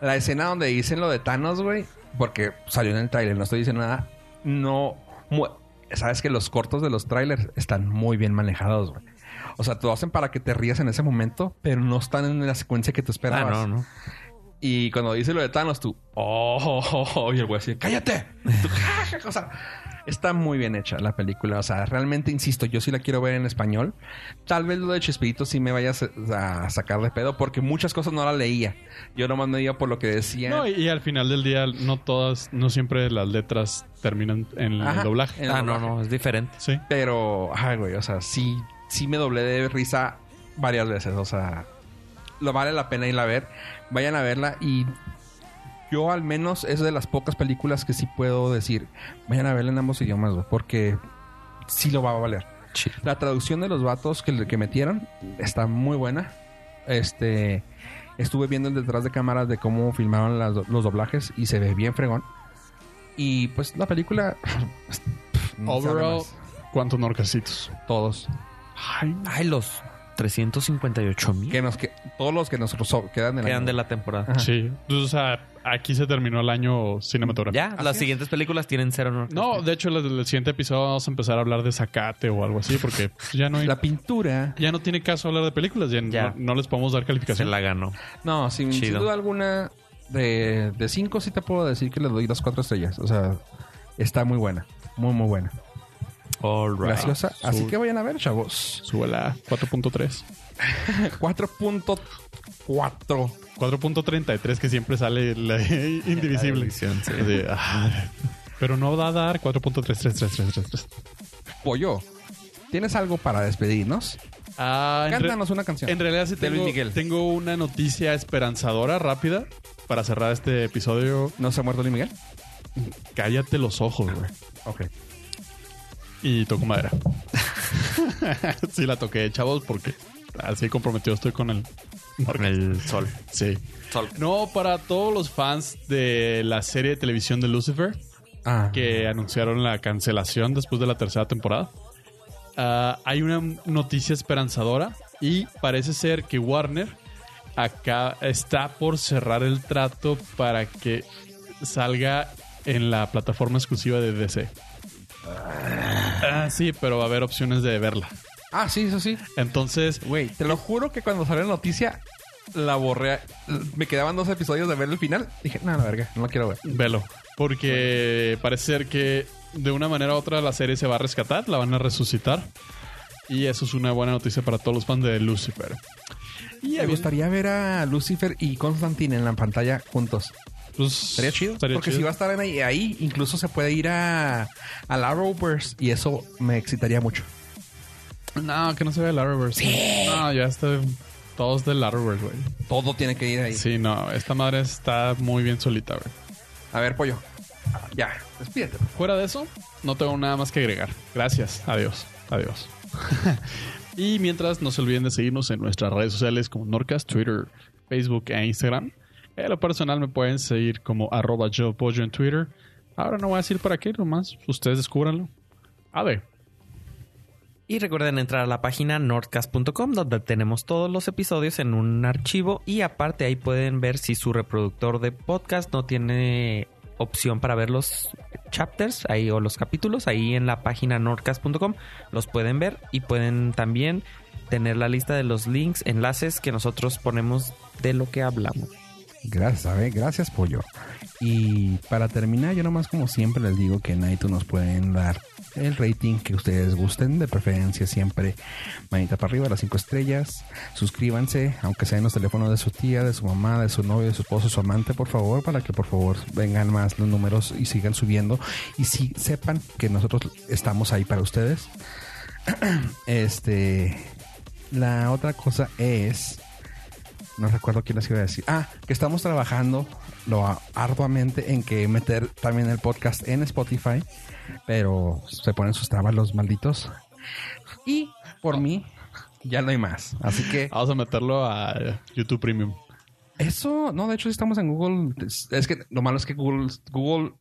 S3: La escena donde dicen lo de Thanos, güey, porque salió en el tráiler, no estoy diciendo nada. No. mu- Sabes que los cortos de los trailers están muy bien manejados, güey. O sea, te lo hacen para que te rías en ese momento, pero no están en la secuencia que tú
S4: Ah,
S3: esperabas.
S4: no, no.
S3: Y cuando dice lo de Thanos, tú, oh, oh, oh", y el güey así, cállate. Tú, [LAUGHS] "Ja, ja, ja". o sea, está muy bien hecha la película. O sea, realmente insisto, yo sí la quiero ver en español. Tal vez lo de Chespirito sí me vaya a sa- a sacar de pedo, porque muchas cosas no la leía. Yo nomás me iba por lo que decía.
S5: No, y, y al final del día, no todas, no siempre las letras terminan en el
S3: Ajá.
S5: doblaje.
S3: En el
S4: Ah, no,
S3: doblaje.
S4: no, es diferente.
S5: Sí.
S3: Pero, ay, güey, o sea, sí, sí me doblé de risa varias veces. O sea, lo vale la pena ir a ver. Vayan a verla y yo al menos es de las pocas películas que sí puedo decir, vayan a verla en ambos idiomas, güey, porque sí lo va a valer. La traducción de los vatos que, que metieron está muy buena. Este, estuve viendo el detrás de cámaras de cómo filmaron las do- los doblajes y se ve bien fregón. Y pues la película... [LAUGHS] no sabe
S5: Overall,
S3: más.
S5: ¿cuántos norcasitos?
S3: Todos.
S5: Ay,
S4: Ay, los 358 mil
S3: que nos que, todos los que nos so- quedan en
S4: quedan de la temporada.
S3: Ajá.
S5: sí. Entonces, o sea, aquí se terminó el año cinematográfico.
S4: Ya,
S3: Así
S4: las
S3: es.
S4: siguientes películas tienen cero honor.
S5: No, de hecho, en el, el siguiente episodio vamos a empezar a hablar de Zacate o algo así, porque pues, ya no hay-
S3: la pintura.
S5: ya no tiene caso hablar de películas, ya,
S4: Ya.
S5: No, no les podemos dar
S4: se
S5: calificación.
S4: la ganó.
S3: No, sin, sin
S4: Chido.
S3: duda alguna de, de cinco sí te puedo decir que le doy las cuatro estrellas. O sea, está muy buena, muy muy buena,
S4: All right.
S3: graciosa. Así
S5: Su-
S3: que vayan a ver, chavos. [LAUGHS]
S5: Súbela 4.3.
S3: 4.4
S5: 4.33 que siempre sale la- [LAUGHS] indivisible. Así, ah, pero no va a dar 4.33333.
S3: pollo. ¿Tienes algo para despedirnos?
S5: Ah, en re-
S3: Cántanos una canción.
S5: En realidad sí
S4: De Luis
S5: tengo,
S4: Miguel.
S5: tengo una noticia esperanzadora rápida para cerrar este episodio.
S3: ¿No se ha muerto Luis Miguel?
S5: Cállate los ojos, güey.
S3: Ok.
S5: Y toco madera. [LAUGHS] sí la toqué, chavos, porque así comprometido estoy con el...
S4: Con el sol.
S5: Sí.
S4: Sol.
S5: No, para todos los fans de la serie de televisión de Lucifer,
S3: Ah,
S5: que anunciaron la cancelación después de la tercera temporada. Ah, hay una noticia esperanzadora y parece ser que Warner acá está por cerrar el trato para que salga en la plataforma exclusiva de DC. Ah, sí, pero va a haber opciones de verla.
S3: ah, sí, eso sí.
S5: Entonces,
S3: Güey, te lo juro que cuando salió la noticia la borré. Me quedaban dos episodios de ver el final. Dije, no, la verga, no lo quiero ver.
S5: Velo. Porque parece ser que de una manera u otra la serie se va a rescatar, la van a resucitar. Y eso es una buena noticia para todos los fans de Lucifer. Y
S3: Me
S5: había-
S3: gustaría ver a Lucifer y Constantine en la pantalla juntos.
S5: pues,
S3: Sería chido.
S5: estaría
S3: porque
S5: chido.
S3: si va a estar en ahí, ahí, incluso se puede ir a, a la Rovers y eso me excitaría mucho.
S5: No, que no se vea el Arrowverse. No, ya está. Todos del Arrowverse, güey.
S3: Todo tiene que ir ahí.
S5: Sí, no, esta madre está muy bien solita, güey.
S3: A ver, pollo. Ya, despídete.
S5: Fuera de eso, no tengo nada más que agregar. Gracias. Adiós. Adiós. [LAUGHS] y mientras, no se olviden de seguirnos en nuestras redes sociales como Norcas, Twitter, Facebook e Instagram. En lo personal me pueden seguir como arroba yo pollo en Twitter. Ahora no voy a decir para qué, nomás ustedes descúbranlo. A ver,
S4: Y recuerden entrar a la página nordcast.com donde tenemos todos los episodios en un archivo y aparte ahí pueden ver si su reproductor de podcast no tiene opción para ver los chapters ahí o los capítulos ahí en la página nordcast.com los pueden ver y pueden también tener la lista de los links, enlaces que nosotros ponemos de lo que hablamos.
S3: Gracias, a ver, gracias, pollo. Y para terminar, yo nomás como siempre les digo que en iTunes nos pueden dar el rating que ustedes gusten, de preferencia siempre manita para arriba, las cinco estrellas. Suscríbanse, aunque sea en los teléfonos de su tía, de su mamá, de su novio, de su esposo, su amante, por favor, para que por favor vengan más los números y sigan subiendo. Y si sepan que nosotros estamos ahí para ustedes. Este, la otra cosa es, no recuerdo quién les iba a decir. Ah, que estamos trabajando lo a- arduamente en que meter también el podcast en Spotify, pero se ponen sus trabas los malditos. Y por mí ya no hay más. Así que
S5: Vamos a meterlo a YouTube Premium.
S3: eso, no, de hecho sí estamos en Google. Es es que lo malo es que Google Google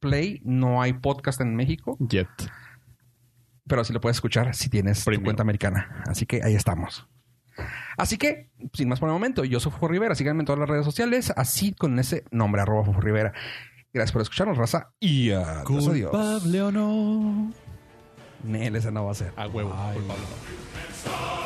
S3: Play no hay podcast en México,
S5: Jet.
S3: pero sí lo puedes escuchar si tienes tu
S5: Premium.
S3: cuenta americana. Así que ahí estamos. Así que, sin más por el momento, yo soy Fofo Rivera. Síganme en todas las redes sociales, así con ese nombre, arroba Fofo Rivera. Gracias por escucharnos, raza. Y adiós. adiós.
S1: o no.
S3: Nel, esa no va a ser.
S5: A huevo. por Pablo.
S2: Stop!